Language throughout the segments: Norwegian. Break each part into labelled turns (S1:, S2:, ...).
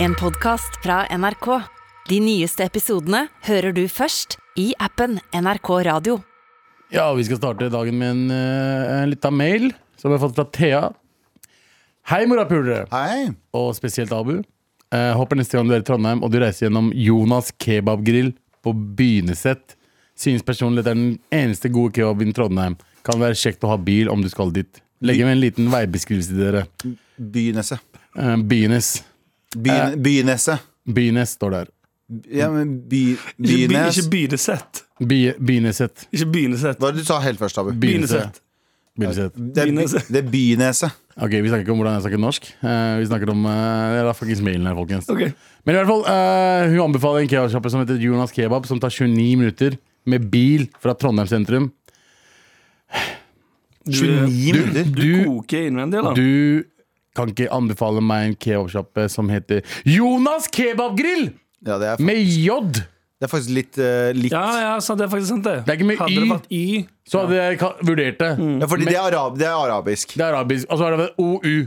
S1: En podcast fra NRK. De nyeste episodene hører du først i appen NRK Radio.
S2: Ja, og vi skal starte dagen med en, eh, en liten mail som vi har fått fra Thea. Hei, morapulere,
S3: Hei.
S2: og spesielt Abu. Eh, håper neste gang du er i Trondheim og du reiser gjennom Jonas kebabgrill på Byneset. Synes personlig dette er den eneste gode kebaben i Trondheim. Kan være kjekt å ha bil om du skal dit. Legger med en liten veibeskrivelse til dere.
S3: Bynesse.
S2: Eh, Bynes.
S3: Byn,
S4: Eh.
S3: Bynesse.
S2: Bynes står der.
S3: Ja, men by,
S4: Ikke, by,
S3: Bynes
S4: ikke begynesett.
S2: By, Byneset.
S4: Ikke begynesett.
S3: Hva var det du sa helt først, Abu?
S4: Begynesett.
S2: Byneset.
S3: Det er, by-
S4: Bynese.
S3: det er Bynese.
S2: Ok, Vi snakker ikke om hvordan jeg snakker norsk. Eh, vi snakker om eh, Det er faktisk mailen her, folkens.
S4: Ok.
S2: Men i hvert fall, eh, hun anbefaler en kebabsjappe som heter Jonas Kebab, som tar 29 minutter med bil fra Trondheim sentrum.
S4: Du,
S3: 29 minutter.
S4: du
S2: Du-
S4: koker innvendig, eller?
S2: Du kan ikke anbefale meg en kebabsjappe som heter Jonas Kebabgrill!
S3: Ja, det er, fa-
S2: Med J!
S3: det er faktisk litt eh, likt.
S4: Ja,
S3: Ja,
S4: ja, sant, det er faktisk sant, det.
S2: Det er ikke med
S4: Hadde
S2: Y.
S4: det vært Y
S2: Så hadde jeg ka- vurdert det.
S3: fordi det er, arab, det er arabisk.
S2: Det er arabisk. Og så er det OU.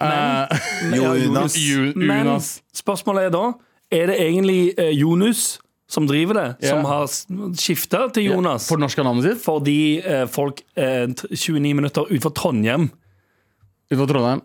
S2: Eh,
S3: Jonas.
S2: Ju-
S4: Men
S2: Jonas.
S4: spørsmålet er da Er det egentlig eh, Jonus som driver det,
S2: Ja.
S4: som har skifta til Jonas?
S2: For norsk av navnet sitt.
S4: Fordi eh, folk eh, t- 29 minutter utenfor Trondheim
S2: Utenfor Trondheim.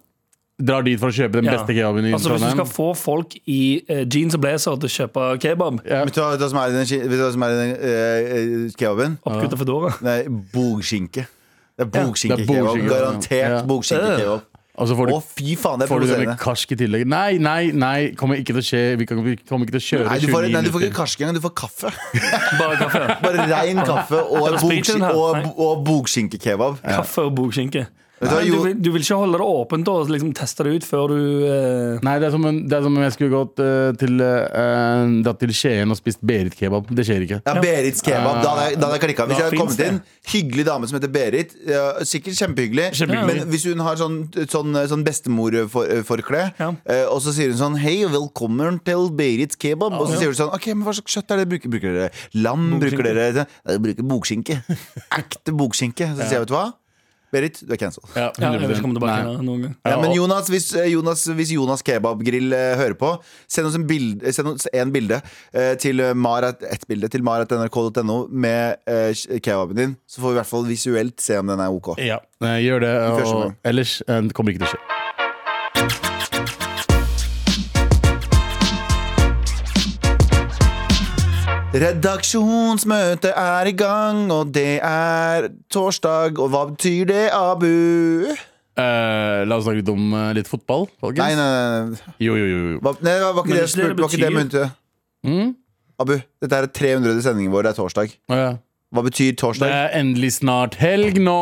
S2: Drar dit for å kjøpe den
S4: Ja.
S2: beste kebaben i
S4: Altså Hvis du
S2: Trondheim.
S4: skal få folk i eh, jeans og blazer til å kjøpe kebab
S2: Ja.
S3: Vet du hva- vet du hva som er i den, ki- vet du hva som er i den eh, eh, kebaben?
S4: Oppkutta fedora.
S3: Det er bogskinke. Det er
S2: det er
S3: bogskinke-kebab.
S2: bogskinke,
S3: Garantert
S2: ja.
S3: bogskinke-kebab.
S2: Og så får
S3: Å,
S2: du
S3: fy faen, det er
S2: Får du det med
S3: provoserende.
S2: karsk i tillegg? Nei, nei, nei, kommer ikke til å skje. Vi kan- vi kommer ikke til å kjøre
S3: Nei, du får,
S2: 29
S3: nei, du får ikke
S2: minutter.
S3: karsk engang, du får kaffe.
S4: Bare kaffe.
S3: Bare rein kaffe og,
S4: sprit i den
S3: bogski-
S4: her?
S3: og,
S4: Nei.
S3: og bogskinke-kebab.
S4: Kaffe og bogskinke.
S3: Vet du hva,
S4: Men Du,
S3: Jo-
S4: vil- du vil ikke holde det åpent og liksom teste det ut før du eh,
S2: Nei, det er som om det er som om jeg skulle gått eh, til, eh, da til Skien og spist Berit-kebab. Det skjer ikke.
S3: Ja, Berits kebab. Da hadde jeg, da hadde jeg klikka. Hvis jeg
S4: Da
S3: hadde
S4: finnes
S3: kommet inn, hyggelig dame som heter Berit. ja, Sikkert kjempehyggelig.
S4: Kjempehyggelig.
S3: Men hvis hun har sånn, sånn, sånn bestemorforkle,
S4: Ja.
S3: eh, og så sier hun sånn Hei, velkommen til Berits kebab. Og så sier hun sånn OK, men hva slags kjøtt er det? Bruker, bruker dere lam? Bruker dere sånn?" Ja, Dere bruker bogskinke. Ekte bogskinke. Så sier jeg, vet du hva? Berit, du er cancelled.
S2: Ja,
S4: ja, Jeg vil ikke komme tilbake
S2: Nei.
S4: nå- noen gang.
S3: Ja, men
S2: og-
S3: Jonas, hvis eh, Jonas, hvis Jonas Kebabgrill eh, hører på, send oss en bilde, send oss en bilde eh, til eh, Marat, et bilde til marat.nrk.no med eh, kebaben din. Så får vi i hvert fall visuelt se om den er OK.
S2: Ja, eh, gjør det.
S3: første
S2: Og
S3: omgang.
S2: ellers eh, det kommer ikke til å skje.
S3: Redaksjonsmøtet er i gang, og det er torsdag. Og hva betyr det, Abu?
S2: Eh, la oss snakke litt om eh, litt fotball, folkens.
S3: Nei, nei, nei. nei.
S2: Jo, jo, jo. jo.
S3: Hva, nei det var ikke
S4: Men
S3: det
S4: det
S3: jeg spurte. det Var ikke det jeg mente?
S2: Mm?
S3: Abu, dette er 300. sendingen vår. Det er torsdag.
S2: Å, ja.
S3: Hva betyr
S2: Det
S3: torsdag?
S2: er endelig snart helg nå!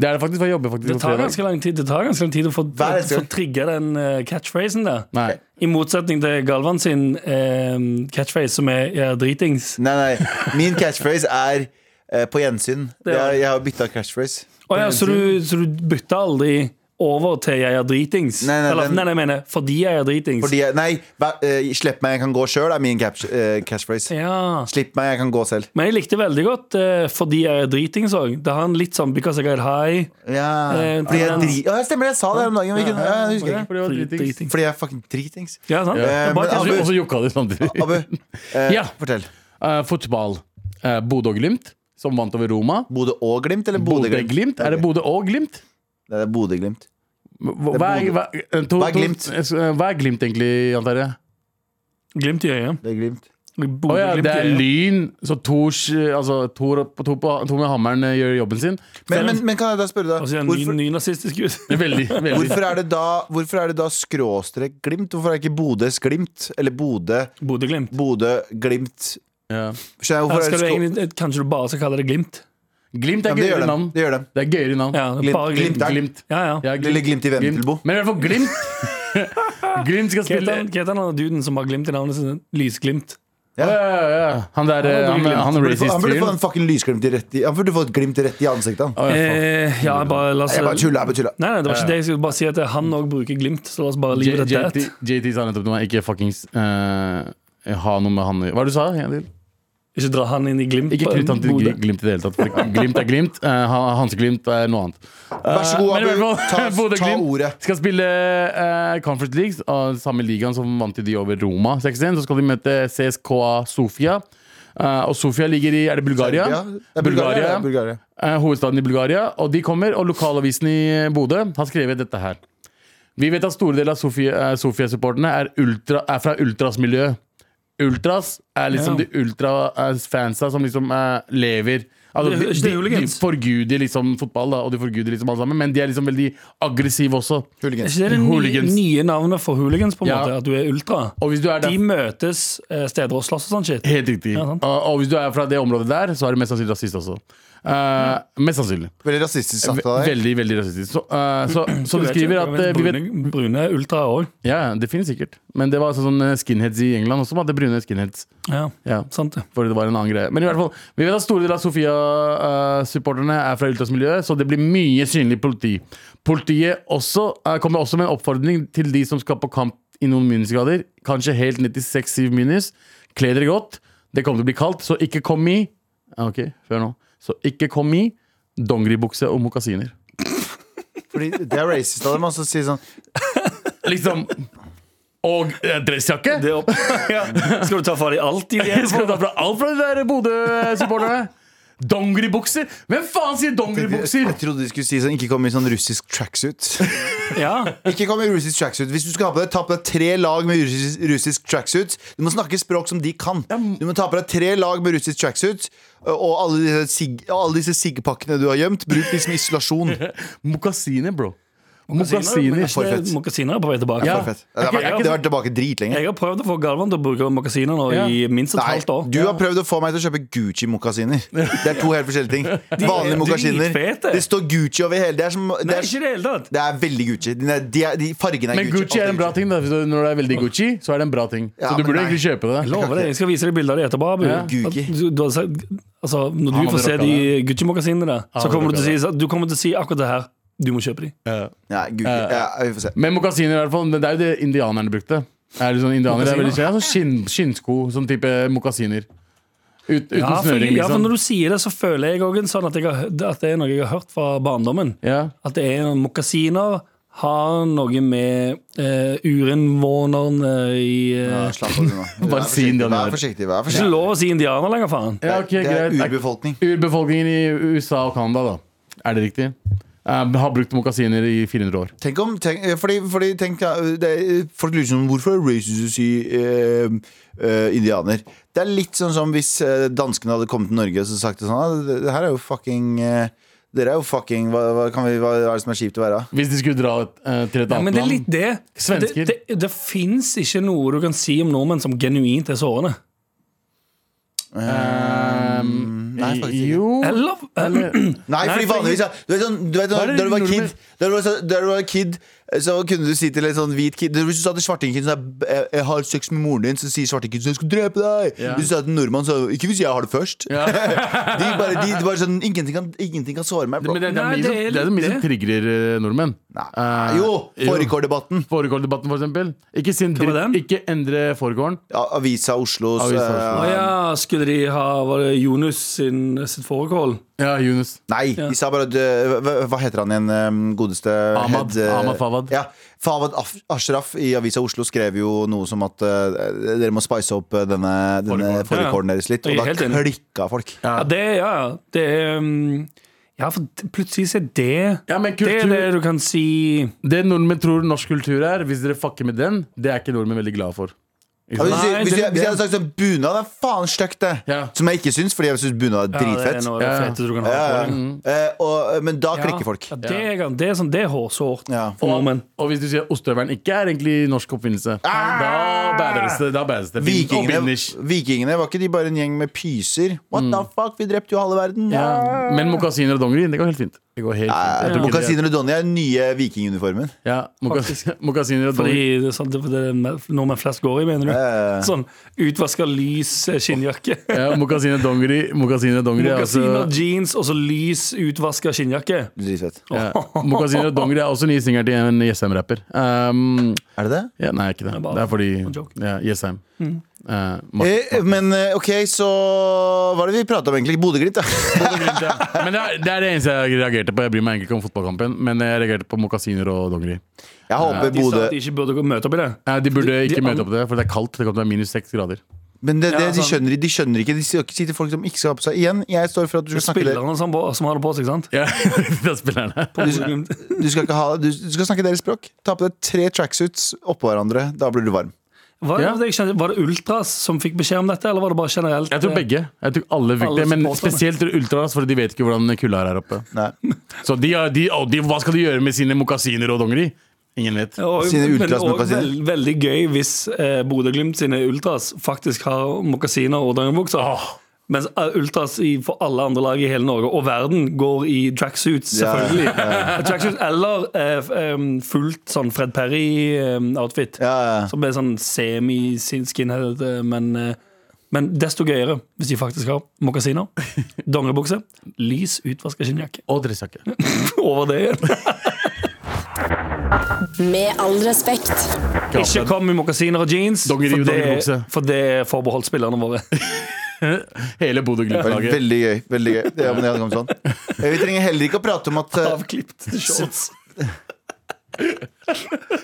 S2: Det er det faktisk, for jeg jobber faktisk
S4: Det
S2: på
S4: tar
S2: fredag.
S4: ganske lang tid Det tar ganske lang tid å få,
S3: Hver eneste
S4: få trigge den eh, catchphrasen der.
S2: Nei.
S4: I motsetning til Galvan sin eh, catchphrase, som er ja, dritings.
S3: Nei, nei. Min catchphrase er eh, på gjensyn.
S4: Det er-
S3: Jeg, jeg har bytta catchphrase.
S4: Å ja, så, du, så du bytter aldri over til 'jeg er dritings'?
S3: Nei, nei,
S4: Eller,
S3: den-
S4: nei, nei, jeg mener 'fordi jeg er dritings'.
S3: Fordi jeg, nei, hva- eh, slipp meg, jeg kan gå sjøl, er min catch, eh, catchphrase.
S4: Ja.
S3: Slipp meg, jeg kan gå selv.
S4: Men jeg likte veldig godt eh, 'fordi jeg er dritings' òg. Det har en litt sånn 'because I got high'.
S3: Ja,
S4: Eh,
S3: fordi jeg
S4: den-
S3: dri... Å, jeg stemmer det, jeg sa det her om dagen. men jeg kunne- ja, jeg husker
S2: Ja,
S3: ikke.
S2: for det var dritings.
S4: Dritings.
S3: Fordi jeg er fucking dritings.
S4: Ja, sant?
S3: Eh, men
S4: Bare
S2: Og
S4: catch-
S3: Abu-
S2: så- og så jokka du samtidig.
S3: Abu, eh,
S2: Ja.
S3: fortell.
S2: Eh, fotball. Eh, Bodø og Glimt, som vant over Roma.
S3: Bodø og Glimt, eller Bodø-Glimt?
S2: Bodø-Glimt? Er det Bodø og Glimt?
S3: Det er Bodø-Glimt.
S2: Hva,
S3: Det
S2: hva,
S3: er
S2: er, hva, to,
S3: Hva er
S2: to-
S3: Glimt?
S2: eh, Hva er Glimt egentlig, Jan Terje?
S4: Glimt i øyet.
S3: Det er Glimt.
S2: Å ja,
S4: Bodø-Glimt
S2: det er
S4: i øyet.
S2: Lyn. Så Tor altså, Tor på- Tor på- Tor med hammeren eh, gjør jobben sin.
S3: Men, men, men kan jeg da spørre
S4: Og
S3: deg,
S4: så er
S3: hvorfor,
S4: han Altså, ny- nynazistisk ut.
S2: Veldig, veldig.
S3: hvorfor, er det da, hvorfor er det da skråstrek Glimt? Hvorfor er det ikke Bodøs Glimt? Eller Bodø,
S4: Bodø-Glimt.
S3: Bodø-Glimt?
S2: Ja.
S3: Skjønner jeg, hvorfor er
S4: Skal
S3: det
S4: du
S3: skrå-
S4: egentlig, kanskje du bare skal kalle det Glimt?
S2: Glimt
S3: Ja,
S2: er
S3: men det gjør
S2: gøyere
S3: dem.
S2: navn.
S3: Det gjør dem.
S2: Det er gøyere navn.
S4: Ja,
S3: Glimt-
S4: bare Glimt.
S3: Glimt er-
S2: Glimt.
S4: Ja, ja.
S2: Ja,
S3: Lille Glimt i Ventelbo.
S2: Men i hvert fall Glimt. Glimt skal
S4: Hva
S2: spille
S4: heter han- hva heter han duden som har Glimt i navnet sitt? Lysglimt.
S2: ja, ja, ja. Han der eh,
S4: Han
S2: Han,
S4: burde-
S2: han,
S3: Han burde få- Han burde få
S2: racist-fyren.
S3: en fucking lysglimt i rett i Han burde få et glimt rett i ansiktet. Han.
S2: Å, ja, faen.
S4: Eh, ja, bare la oss
S3: Jeg bare
S4: Nei,
S3: tuller. Jeg bare tuller.
S4: nei, det var ikke det. Jeg skulle bare si at han òg bruker Glimt. Så la oss bare leave
S2: J-
S4: it at
S2: JT
S4: that.
S2: JT sa nettopp til meg ikke fuckings eh, ha noe med han å gjøre. Hva er det du sa? Ja, det-
S4: Ikke dra han inn i Glimt.
S2: Ikke knytt han til
S4: Bodø.
S2: Gli- Glimt i det hele tatt. for Glimt er Glimt. eh, Han- Hanseglimt er noe annet.
S3: Vær så god,
S2: Eh, Men i
S3: Abu.
S2: hvert fall,
S3: Ta-
S2: Bodø
S3: ta
S2: Glimt
S3: ordet.
S2: Skal spille eh, Conference Leagues, av samme ligaen som vant de over Roma 6-1. Så skal de møte CSKA Sofia. Eh, og Sofia ligger i Er det Bulgaria?
S3: Serbia? Det er Bulgaria. det er Bulgaria.
S2: Eh, hovedstaden i Bulgaria. Og de kommer, og lokalavisen i Bodø har skrevet dette her. Vi vet at store deler av Sofia- eh, Sofia-supporterne er, ultra, er fra ultras miljø. Ultras er liksom de
S4: Ja.
S2: ultra-fansa som liksom eh, lever altså,
S4: Det er
S2: de,
S4: ikke det
S2: de, de
S4: hooligans?
S2: forguder liksom fotball, da, og de forguder liksom alle sammen, men de er liksom veldig aggressive også.
S4: Er
S3: Hooligans.
S4: ikke det det nye,
S2: Hooligans.
S4: nye navnet for hooligans, på en
S2: Ja.
S4: måte? At du er ultra?
S2: Og hvis du er der
S4: De møtes eh, steder og slåss og sånn shit.
S2: Helt riktig.
S4: Ja, sant.
S2: og, og hvis du er fra det området der, så er du mest sannsynlig rasist også. Eh, mest sannsynlig.
S3: Veldig rasistisk sagt av deg.
S2: Veldig, veldig rasistisk. Så, eh, så, så de skriver at eh, vi vet
S4: Brune, brune er ultra òg.
S2: Ja, det finnes sikkert. Men det var sånn sånn skinheads i England også, som hadde brune skinheads.
S4: Ja,
S2: Ja,
S4: sant det.
S2: for det var en annen greie. Men i hvert fall, vi vet at store deler av Sofia-supporterne er fra ultrasmiljøet, så det blir mye synlig politi. Politiet også, eh, kommer også med en oppfordring til de som skal på kamp i noen minusgrader, kanskje helt ned til 6-7 minus. Kle dere godt. Det kommer til å bli kaldt, så ikke kom i Ja, Ok, før nå. Så ikke kom i dongeribukse og mokasiner.
S3: Fordi det er racist av dem altså, å si sånn
S2: Liksom Og eh, dressjakke!
S4: Det er opp. Skal du ta fra deg alt i det?
S2: Skal du ta fra alt fra de der Bodø-supporterne? Dongeribukser? Hvem faen sier dongeribukser?
S3: Jeg trodde de skulle si sånn Ikke kom i sånn russisk tracksuit.
S4: Ja.
S3: Ikke kom i russisk tracksuit Hvis du skal ha på deg, ta på deg tre lag med russisk, russisk tracksuit. Du må snakke språk som de kan. Du må ta på deg tre lag med russisk tracksuit. Og alle disse, sig, og alle disse siggpakkene du har gjemt. Bruk liksom isolasjon.
S2: Mokasiner, bro. Mokasiner.
S3: For fett.
S4: Mokasiner er på vei tilbake.
S2: Ja.
S3: Det var fett. Det har
S2: Ok, jeg
S3: vært,
S2: kan-
S3: det har vært tilbake dritlenge.
S4: Jeg har prøvd å få Galvan til å bruke mokasiner nå
S2: Ja.
S4: i minst et
S3: Nei,
S4: halvt år.
S3: du har prøvd å få meg til å kjøpe Gucci-mokasiner. Det er to helt forskjellige ting. Vanlige mokasiner.
S4: dritfete.
S3: Det står Gucci over hele. Det er, som, det
S4: Nei,
S3: er,
S4: ikke i det hele tatt.
S3: det er veldig Gucci. De, er- de, er- de fargene er
S2: Men Gucci er en bra ting. da Hvis du- Når det er veldig Gucci, så er det en bra ting.
S3: Ja,
S2: Så du
S3: men
S2: burde
S3: nei.
S2: egentlig kjøpe det.
S4: Lover det. Jeg skal vise deg bilder av det etterpå. Abu.
S2: Ja.
S4: At
S3: Gucci.
S4: Du, du har sagt, altså, når
S2: Han
S4: du
S2: hadde
S4: får se
S2: rocka
S4: de Gucci-mokasinene, der,
S2: Han
S4: så
S2: hadde
S4: kommer du,
S2: rocka
S4: til å si, så- du kommer til å si akkurat det her. Du må kjøpe de.
S2: Ja.
S3: Nei, Gucci. Ja, vi får se.
S2: Men mokasiner, i hvert fall. Det er jo det indianerne brukte. Er det sånn indianere det er veldig ja, sånn skinn, Skinnsko, sånn type mokasiner. Ut, uten
S4: Ja, for,
S2: snøring,
S4: ja, for
S2: liksom.
S4: når du sier det, så føler jeg òg en sånn at, jeg har, at det er noe jeg har hørt fra barndommen.
S2: Ja.
S4: At det er noen mokasiner har noe med eh, urinnvånerne i eh,
S3: Ja, slapp av du nå.
S2: Bare
S3: Vær
S2: si
S3: forsiktig,
S2: indianer.
S3: Vær forsiktig. Vær
S4: Det er
S3: forsiktig.
S4: ikke lov å si indianer lenger, faen.
S2: ja, ok,
S3: Det er
S2: greit.
S3: urbefolkning.
S2: Urbefolkningen i USA og Canada, da. Er det riktig? Eh, har brukt mokasiner i 400 år.
S3: Tenk om, tenk, fordi, fordi tenk, ja, det, er- Folk lurer sånn Hvorfor er racist å si eh, eh, indianer? Det er litt sånn som hvis eh, danskene hadde kommet til Norge og så sagt det sånn ah, det, det her er jo fucking eh, Dere er jo fucking hva, hva, kan vi, hva er det som er kjipt å være?
S2: Hvis de skulle dra et, eh, til et
S4: Ja, men
S2: annet
S4: det er
S2: land
S4: litt det.
S2: Svensker.
S4: Det, det, det fins ikke noe du kan si om nordmenn som genuint er sårende.
S2: Ehm,
S3: Nei, faktisk ikke.
S2: Jo
S4: Eller, eller
S3: Nei,
S4: Nei,
S3: fordi
S4: for-
S3: vanligvis ja. Du vet sånn, du vet,
S2: Hva er
S3: når,
S2: det
S3: da du var
S2: nordmenn-
S3: kid, da du var, så- da du var kid Så kunne du si til en sånn hvit kid Hvis du sa til svartingkid sånn jeg, 'Jeg har sex med moren din', så sier svartingkid sånn 'Jeg skal drepe deg'.
S2: Ja.
S3: Hvis du sa til en nordmann, så 'Ikke hvis jeg har det først'.
S2: Ja.
S3: De bare, de, de bare sånn Ingenting kan, ingenting kan såre meg, bro.
S2: Men det, det, er
S4: Nei,
S2: mye som,
S4: det er
S2: det er så mye
S4: litt
S2: som
S4: det.
S2: trigger eh, nordmenn.
S3: Nei. Ah, Jo!
S2: Eh,
S3: Fårikåldebatten.
S2: Fårikåldebatten, for eksempel. Ikke, sin
S4: Hva var
S2: dritt-
S4: den?
S2: ikke endre fårikålen.
S3: Ja, Avisa Oslos
S2: Avisa Oslo.
S3: eh,
S4: Å ja, skulle de ha Var det Jonus sin, sitt fårikål?
S2: Ja, Yunus.
S3: Nei, de sa bare at eh, hva, hva heter han igjen, eh, godeste
S2: Ahmad.
S3: eh,
S2: Ahmad Fawad.
S3: Ja, Fawad Af- Ashraf i Avisa Oslo skrev jo noe som at eh, dere må spice opp eh, denne, denne
S2: Fårikålen.
S3: fårikålen
S4: Ja, ja.
S3: deres litt. Og
S4: Jeg er
S3: da
S4: helt enig.
S3: klikka folk.
S4: Ja. det ja, ja. Det er mm, Ja, for t- plutselig så er det
S2: Ja, men kultur-
S4: Det er det du kan si
S2: Det nordmenn tror norsk kultur er, hvis dere fucker med den, det er ikke nordmenn veldig glad for.
S3: Ja, hvis,
S4: Nei,
S3: jeg- hvis,
S4: det-
S3: jeg, hvis jeg hadde sagt sånn bunad er faen stygt, det.
S2: Ja.
S3: Som jeg ikke syns, fordi jeg syns bunad er
S4: Ja, det
S3: dritfett.
S4: er
S3: Ja,
S4: noe av det
S2: Ja.
S4: feteste du kan ha på
S3: ja.
S4: deg.
S3: Eh, og, eh, men da
S4: Ja.
S3: klikker folk.
S4: Ja, det, er, gan- det er sånn, det er hårsårt
S3: Ja.
S4: for nordmenn.
S2: Og hvis du sier ostehøvelen ikke er egentlig norsk oppfinnelse, da bæres det. Da bæres det.
S3: Vikingene,
S2: Oppfinners.
S3: vikingene var ikke de bare en gjeng med pyser? What the
S4: Mm.
S3: fuck, vi drepte jo halve verden.
S2: Ja. Men mokasiner og dongeri, det går helt fint. Det går helt fint. Jeg tror ikke det-
S3: Mokasiner og Donny er den nye vikinguniformen.
S2: Ja, mokas-
S4: Faktisk.
S2: Mokasiner og
S4: Fordi
S2: dongeri.
S4: det er sånn, det, det er nordmenn flest går i, mener du?
S3: Eh.
S4: Sånn utvaska lys eh, skinnjakke.
S2: Ja, mokasiner og dongeri. Mokasiner og dongeri er altså- også-
S4: Mokasiner, jeans og så lys utvaska skinnjakke.
S3: Dritfett.
S2: Ja. Mokasiner og dongeri er også nye singelen til en Jessheim-rapper. Um,
S3: Er det det?
S2: ja, nei, ikke det.
S4: er bare
S2: Det er fordi
S4: en joke. Mm.
S2: ja, Jessheim. Eh, Morten.
S3: Eh, Men eh, ok, så Hva er det vi prater om egentlig? Bodø-Glimt, da.
S2: Men det er, det er det eneste jeg reagerte på. Jeg bryr meg egentlig ikke om fotballkampen, men jeg reagerte på mokasiner og dongeri.
S3: Jeg håper
S4: De sa
S3: Bodø
S4: at de ikke burde møte opp i det.
S2: Eh, De burde
S4: De- de
S2: ikke møte
S4: an-
S2: opp til det, for det er kaldt. Det kommer til å være minus seks grader.
S3: Men det, det,
S4: Ja,
S3: de,
S4: sånn.
S3: skjønner, de skjønner ikke. De sier sier til folk som ikke skal ha på seg. Igjen, jeg står for at du skal snakke der.
S4: Spillerne som, som har det på seg, ikke sant?
S2: Ja, det er spillerne.
S3: Du skal, du skal ikke ha, du, du skal snakke deres språk. Ta på deg tre tracksuits oppå hverandre. Da blir du varm.
S4: Var det,
S2: Ja.
S4: jeg skjønte- var det Ultras som fikk beskjed om dette, eller var det bare generelt? eh,
S2: Jeg tror begge. Jeg tror alle fikk
S4: Alle
S2: det, Men
S4: supporterne.
S2: spesielt Ultras, for de vet ikke hvordan kulda er her oppe.
S3: Nei.
S2: Så de, har- de, å, de, hva skal de gjøre med sine mokasiner og dongeri? Ingen vet.
S4: Og,
S3: Sine
S4: men
S3: ultras
S4: også
S3: mokasiner.
S4: veld, veldig gøy hvis eh, Bodø-Glimt sine ultras faktisk har mokasiner og dongeribukser.
S2: Åh.
S4: Mens eh, ultras i, for alle andre lag i hele Norge og verden går i tracksuits,
S3: Ja,
S4: selvfølgelig. Tracksuits eller eh, f- em, fullt sånn Fred Perry-outfit.
S3: Ja, ja.
S4: Som er sånn semi-skinhead, eh, men, eh, men desto gøyere hvis de faktisk har mokasiner, dongeribukse, lys utvaska skinnjakke.
S2: Og dressjakke.
S4: Over det igjen.
S5: Med all respekt.
S4: Ikke kom i mokasiner og jeans, for
S2: Dongeri og
S4: det,
S2: dongeribukse.
S4: for det er forbeholdt spillerne våre.
S2: Hele
S3: Det var
S2: Bodø-Glimt-laget.
S3: Veldig gøy. veldig gøy Det er om det hadde kommet sånn. Eh, Vi trenger heller ikke å prate om at eh,
S4: Avklipt shorts.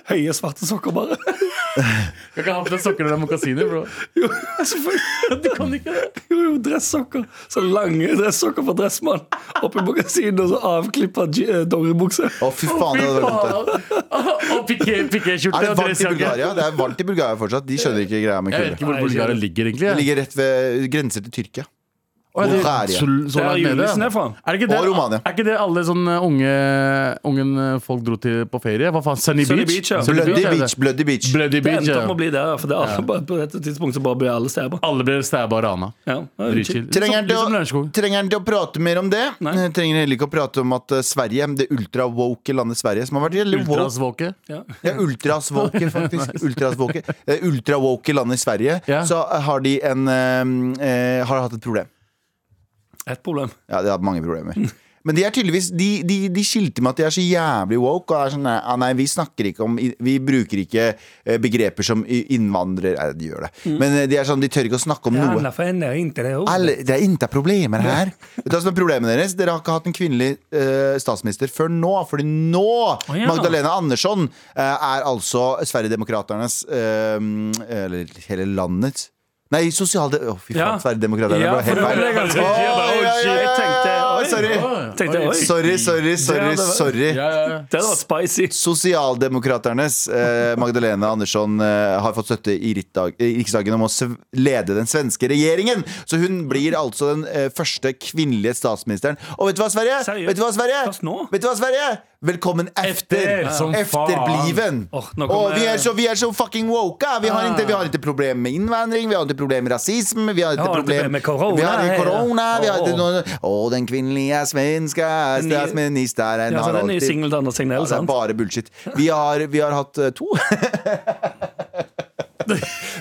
S4: Høye, svarte sokker, bare.
S2: Du kan ikke ha på deg sokker når det er mokasiner, bro.
S4: Jo, selvfølgelig.
S2: Du kan ikke det.
S4: Jo, jo, dressokker. Så lange dressokker fra Dressmann. Oppi magasinet og så avklippa eh, dongeribukse.
S3: Å, fy faen, det hadde vært vondt. det.
S2: Og piké-
S3: Er
S2: piké-skjorte og
S3: det varmt i
S2: dressjakke.
S3: Bulgaria? Det er varmt i Bulgaria fortsatt. De skjønner ikke greia med
S2: Jeg vet
S3: kulde.
S2: ikke hvor
S4: Nei,
S2: Bulgaria
S4: ikke.
S2: ligger, egentlig.
S3: Det
S2: jeg.
S3: ligger rett ved grenser til Tyrkia.
S2: Å, det-
S3: Bulgaria.
S2: så- så
S4: Der
S2: langt nede,
S4: julenissen
S2: ja.
S4: er fra.
S2: Er det ikke det,
S3: Og Romania.
S2: Er ikke det alle sånne unge, unge folk dro til på ferie? Hva faen? Sunny,
S4: Sunny
S2: Beach?
S4: Beach, ja.
S2: Sunny
S3: Bloody
S2: er det.
S3: beach, bloody beach.
S2: Bloody
S4: Det
S2: Beach,
S4: endte
S2: ja.
S4: opp med å bli der, for det er alle, bare på dette tidspunktet så bare blir alle stæber.
S2: Alle ble stabba og rana.
S4: Ja, det er jo chill.
S2: Dritchill. Litt som-
S3: Trenger han
S2: litt som
S3: til, å-
S2: Lørenskog.
S3: trenger han til å prate mer om det?
S4: Nei.
S3: Eh, Trenger heller ikke å prate om at eh, Sverige, det ultra-woke landet Sverige, som har vært jævlig woke
S2: Ultrasvåke.
S4: Ja.
S3: Ja, ultrasvåke, faktisk. Ultrasvåke. Det ultra-woke landet Sverige,
S2: Ja.
S3: så har de en eh, eh, Har hatt et problem.
S4: Et problem.
S3: Ja, de har hatt mange problemer. Men de er tydeligvis De, de, de skilte med at de er så jævlig woke. Og er sånn nei, ah, nei, vi snakker ikke om Vi bruker ikke eh, begreper som i- innvandrer Nei, de gjør det.
S2: Mm.
S3: Men eh, de er sånn, de tør ikke å snakke om noe.
S4: eh,
S3: Alle, det er inte problemer her. Vet du hva som er problemet deres? Dere har ikke hatt en kvinnelig eh, statsminister før nå. Fordi nå,
S4: ja.
S3: Magdalena Andersson, eh, er altså Sverigedemokraternes eh, Eller hele landets Nei, sosialde... Å, fy faen,
S4: Ja.
S3: Sverigedemokraterne.
S4: Ja,
S3: det ble helt
S4: for det
S3: feil.
S4: ble ganske-
S3: Oi,
S2: Jeg bare,
S3: oi,
S2: oh, shit,
S3: oi,
S4: jeg tenkte,
S3: oi,
S4: oi.
S3: Sorry.
S2: Å,
S4: Tenkte jeg,
S2: oi.
S4: oi.
S3: Sorry, sorry, sorry.
S4: det var-
S3: sorry.
S2: Ja, ja, ja.
S4: Det var spicy.
S3: Sosialdemokraternes eh, Magdalena Andersson eh, har fått støtte i rittdag- i Riksdagen om å sv- lede den svenske regjeringen. Så hun blir altså den eh, første kvinnelige statsministeren. Og vet du hva, Sverige?
S4: Seriøst?
S3: Vet du hva, Sverige?
S4: Først nå?
S3: Vet du hva, Sverige? Velkommen efter!
S2: Efter, som
S3: Efterbliven!
S4: Åh, nå
S3: Og
S4: kommer-
S3: vi er så, vi er så fucking woke! Vi har ikke, vi har ikke problem med innvandring, vi har ikke problem med rasisme, vi har
S4: Jeg
S3: ikke
S4: har ikke
S3: problem
S4: problem med corona,
S3: Vi har ikke
S4: hei,
S3: korona, vi har ikke
S4: åh.
S3: noe Å, den kvinnelige svenske
S4: Ny-
S3: statsministeren
S4: Ja, så
S3: har
S4: den nye
S3: alltid
S4: singelen til Anna
S3: ja,
S4: Signell,
S3: det er
S4: sant?
S3: bare bullshit. Vi har, vi har hatt eh, to.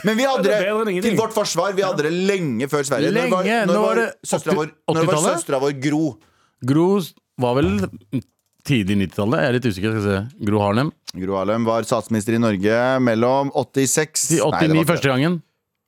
S3: Men vi hadde
S4: Det
S3: det
S4: er bedre enn ingenting.
S3: til vårt forsvar. Vi hadde det lenge før Sverige. Når var-
S2: Lenge.
S3: Når
S2: Nå
S3: var
S2: var det
S3: søstera vår,
S2: 80-
S3: når var
S2: 80-tallet?
S3: søstera vår Gro?
S2: Gro var vel tidlig 90-tallet. Jeg er litt usikker. skal jeg se Gro Harlem.
S3: Gro Harlem var statsminister i Norge mellom 86
S2: Til
S3: Nei, det
S2: 89
S3: var ikke
S2: første gangen.
S3: det.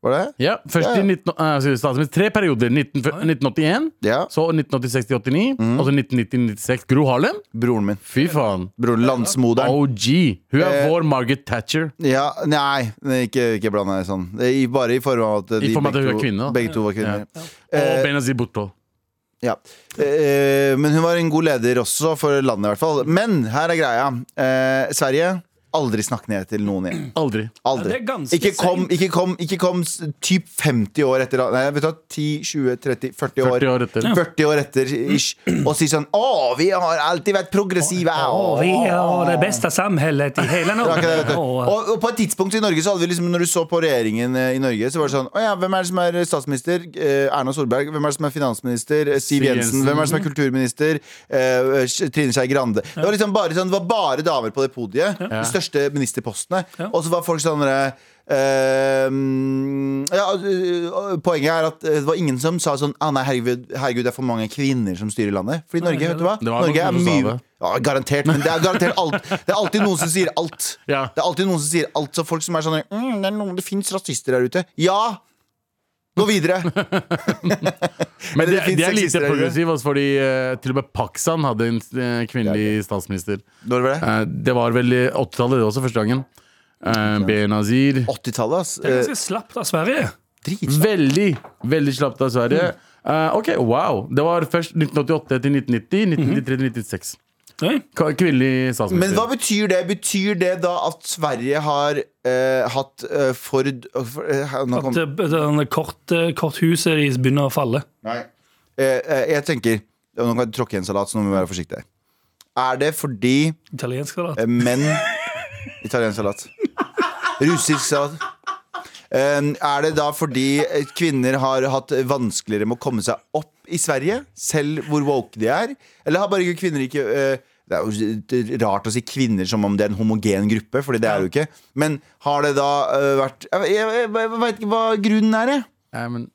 S3: Var det?
S2: Ja, først
S3: Ja, ja.
S2: i 19, eh, sorry, statsminister. Tre perioder. 19, fø- 1981,
S3: Ja.
S2: så 1986 til 89,
S3: Mm.
S2: og så 1990-96. Gro Harlem?
S3: Broren min.
S2: Fy faen.
S3: Broren, landsmoderen.
S2: OG. Hun er
S3: Eh,
S2: vår Margaret Thatcher.
S3: Ja, nei, ikke, ikke bland deg sånn. I, bare i form av at eh,
S2: I
S3: de
S2: form av
S3: begge,
S2: at hun er
S3: to,
S2: kvinne, da.
S3: begge to var kvinner. eh,
S2: Og Benazir Bhutto.
S3: Ja. Eh, men hun var en god leder også, for landet i hvert fall. Men her er greia. Eh, Sverige aldri snakk ned til noen igjen.
S2: Aldri.
S3: Aldri.
S4: Ja, det er ganske
S3: ikke, kom,
S4: seint.
S3: ikke, kom, ikke kom s- typ 50 år etter Nei, vet du hva, 10, 20, 30, 40 år
S2: 40 år etter.
S3: 40 år etter ish, og si sånn Å, vi har alltid vært progressive! Å,
S4: har det beste samfunnet i hele
S3: det var ikke det, vet du. Og, og på et tidspunkt i Norge så hadde vi liksom Når du så på regjeringen eh, i Norge, så var det sånn Å ja, hvem er det som er statsminister? Eh, Erna Solberg. Hvem er det som er finansminister? Eh,
S2: Siv
S3: Siv
S2: Jensen.
S3: Jensen. Hvem er eh, det som er kulturminister? Eh, Trine Skei Grande. Det var liksom bare sånn Det var bare damer på det podiet. De første ministerpostene.
S4: Ja.
S3: Og så var folk sånn eh, ehm, ja, eh, Poenget er at det var ingen som sa sånn ah, nei, herregud, herregud, det er for mange kvinner som styrer landet. Fordi Norge,
S4: det er
S3: vet du hva?
S2: Det var noen
S3: Norge er
S2: som sa
S3: mye
S2: det.
S3: ja, Garantert. Men det er garantert alt. Det er alltid noen som sier alt.
S2: Ja.
S3: Det er alltid noen som sier alt. Så folk som er sånn mm, Det, er noen- det fins rasister der ute. Ja! Gå videre!
S2: Men det,
S3: det finnes
S2: det er lite
S3: sexister der ute.
S2: progressivt, altså, fordi eh, til og med Pakistan hadde en eh, kvinnelig statsminister.
S3: Når var det?
S2: Eh, det var vel i 80-tallet, det også, første gangen. Uh, Benazir.
S3: 80-tallet, ass.
S4: Det er
S3: Eh,
S4: ganske slapt av Sverige.
S3: Dritfett.
S2: Veldig, veldig slapt av Sverige.
S3: Mm.
S2: Eh, ok, wow. Det var først 1988 til
S3: Mhm.
S2: 1990, 1993 til 1996.
S4: Oi.
S2: Ka- Kvinnelig
S3: Men hva
S2: statsminister.
S3: betyr det? Betyr det da at Sverige har eh, hatt eh, Ford eh, for, eh, nå
S4: At
S3: kom,
S4: det, det denne kort, eh, korthuset deres begynner å falle.
S3: Nei. Eh, eh, Jeg tenker og Nå kan jeg tråkke i en salat, så nå må vi være forsiktige. Er det fordi
S4: Italiensk salat.
S3: eh, menn Italiensk salat. Russisk salat. Eh, er det da fordi eh, kvinner har hatt vanskeligere med å komme seg opp i Sverige? Selv hvor woke de er? Eller har bare ikke kvinner ikke eh, Det er jo rart å si kvinner som om det er en homogen gruppe, Fordi det er det jo ikke. Men har det da eh, vært Jeg, jeg, jeg, jeg veit ikke hva grunnen er, jeg.
S2: Eh, men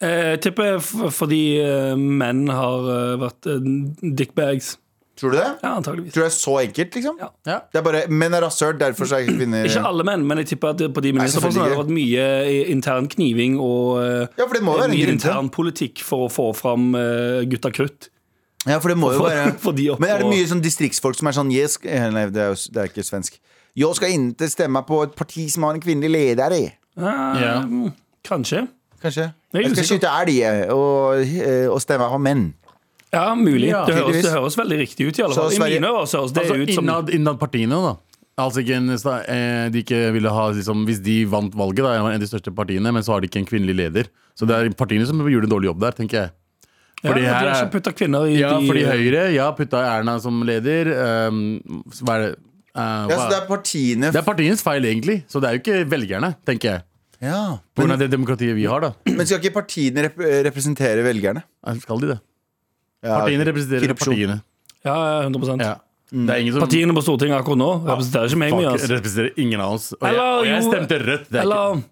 S4: Eh, Jeg tipper f fordi eh, menn har eh, vært eh, dickbags.
S3: Tror du det?
S4: Ja, antageligvis.
S3: Tror du det er så enkelt, liksom?
S4: Ja.
S2: Ja.
S3: Det er bare menn er rasshøl, derfor så er kvinner
S4: Ikke alle menn, men jeg tipper at på de ministerpostene har det
S3: selvfølgelig
S4: vært mye eh, intern kniving og eh,
S3: Ja, for det må være en
S4: mye
S3: grunn til det.
S4: intern politikk for å få fram eh, gutta krutt.
S3: Ja, for det må jo
S4: For-
S3: være
S4: for de opp
S3: Men er det
S4: og-
S3: mye sånn distriktsfolk som er sånn «Jeg sk- eh, Nei, det er, jo, s- det er ikke svensk. Jeg skal ikke stemme på et parti som har en kvinnelig leder i.
S4: Eh,
S2: Ja.
S4: Kanskje.
S3: Kanskje.
S4: Det er
S3: Jeg skal
S4: usikkert.
S3: skyte elg eh, og, eh, og stemme på menn.
S4: Ja, mulig.
S2: Ja,
S4: det, høres,
S3: tydeligvis.
S4: det høres veldig riktig ut, i alle
S3: Så
S4: fall. I
S3: Sverige-
S4: mine ører så høres det
S2: altså,
S4: ut som
S2: innad, innad partiene, da. Altså ikke en, sta- eh, de ikke ville ha, liksom, hvis de vant valget, da, en av de største partiene, men så har de ikke en kvinnelig leder. Så det er partiene som gjorde en dårlig jobb der, tenker jeg.
S4: ja,
S2: fordi
S4: De
S2: her
S4: har
S2: er-
S4: ikke putta kvinner i
S2: Ja,
S4: de-
S2: fordi Høyre ja, putta Erna som leder. ehm, hva er det? Eh,
S3: Ja, så
S2: hva-
S3: det er partiene
S2: det er partienes feil, egentlig. Så det er jo ikke velgerne, tenker jeg.
S3: ja.
S2: På grunn av det demokratiet vi har, da.
S3: Men skal ikke partiene rep representere velgerne?
S2: Eh, Skal de det?
S3: Ja,
S2: Partiene
S3: ok. Mm.
S2: representerer
S3: Korrupsjon.
S2: partiene.
S4: Ja, ja, 100
S2: Ja. Det er ingen som
S4: Partiene på Stortinget akkurat nå representerer ikke meg
S2: fuck,
S4: mye. Altså.
S2: representerer ingen av oss. Og jeg,
S4: Eller
S2: og jeg
S4: jo-
S2: stemte rødt. Det er ikke
S4: Eller,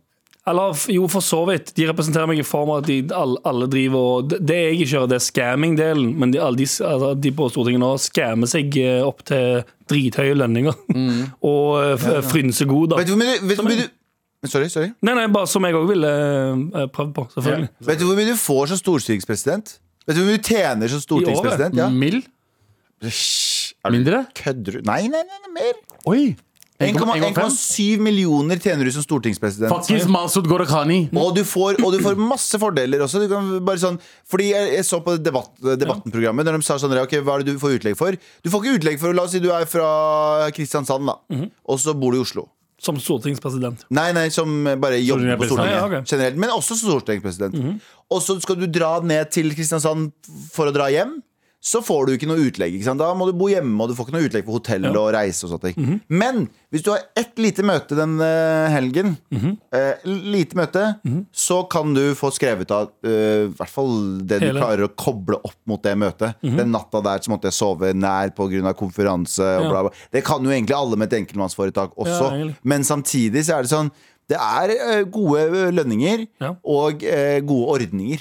S4: eller f- jo, for så vidt. De representerer meg i form av at de alle, alle driver og Det det jeg ikke gjør, det er scamming-delen, men de, alle de, s- altså, de på Stortinget nå skammer seg eh, opp til drithøye lønninger
S2: Mm.
S4: og eh, f- frynsegoder.
S3: Vet du hvor mye du, vet du, hvor mye du Sorry, sorry.
S4: Nei, nei, bare som jeg òg ville eh, prøvd på, selvfølgelig.
S3: Vet du hvor mye du får som stortingspresident? Vet du hvor mye du tjener som stortingspresident? Ja.
S2: mild.
S3: Hysj,
S2: Mindre?
S3: Kødder du? Nei, nei, nei, nei mer.
S2: Oi! 1,5?
S3: 1,7 millioner tjener du som stortingspresident.
S2: Fuckings Masud Ghorakhani.
S3: Og du, får, og du får masse fordeler også. Du kan bare sånn, fordi jeg, jeg så på debatt, Debatten-programmet, der de sa sånn Ok, hva er det du får utlegg for? Du får ikke utlegg for La oss si du er fra Kristiansand, da. Og så bor du i Oslo.
S4: Som stortingspresident.
S3: Nei, nei, som bare jobber på Stortinget.
S4: Ja, ja, ok. Mhm.
S3: Generelt, men også som stortingspresident. Og så skal du dra ned til Kristiansand for å dra hjem. Så får du ikke noe utlegg. Ikke sant? Da må du bo hjemme, og du får ikke noe utlegg for hotell og reise. og sånne ting
S4: Mhm.
S3: Men hvis du har ett lite møte den eh, helgen,
S4: Mhm.
S3: eh, lite møte, så kan du få skrevet av eh, i hvert fall det du
S4: Hele. Mhm.
S3: klarer å koble opp mot det møtet. Den natta der så måtte jeg sove nær pga. konferanse og
S4: Ja.
S3: bla, bla. Det kan jo egentlig alle med et enkeltmannsforetak også.
S4: Ja, egentlig.
S3: Men samtidig så er det sånn Det er eh, gode eh, lønninger
S4: Ja.
S3: og eh, gode ordninger.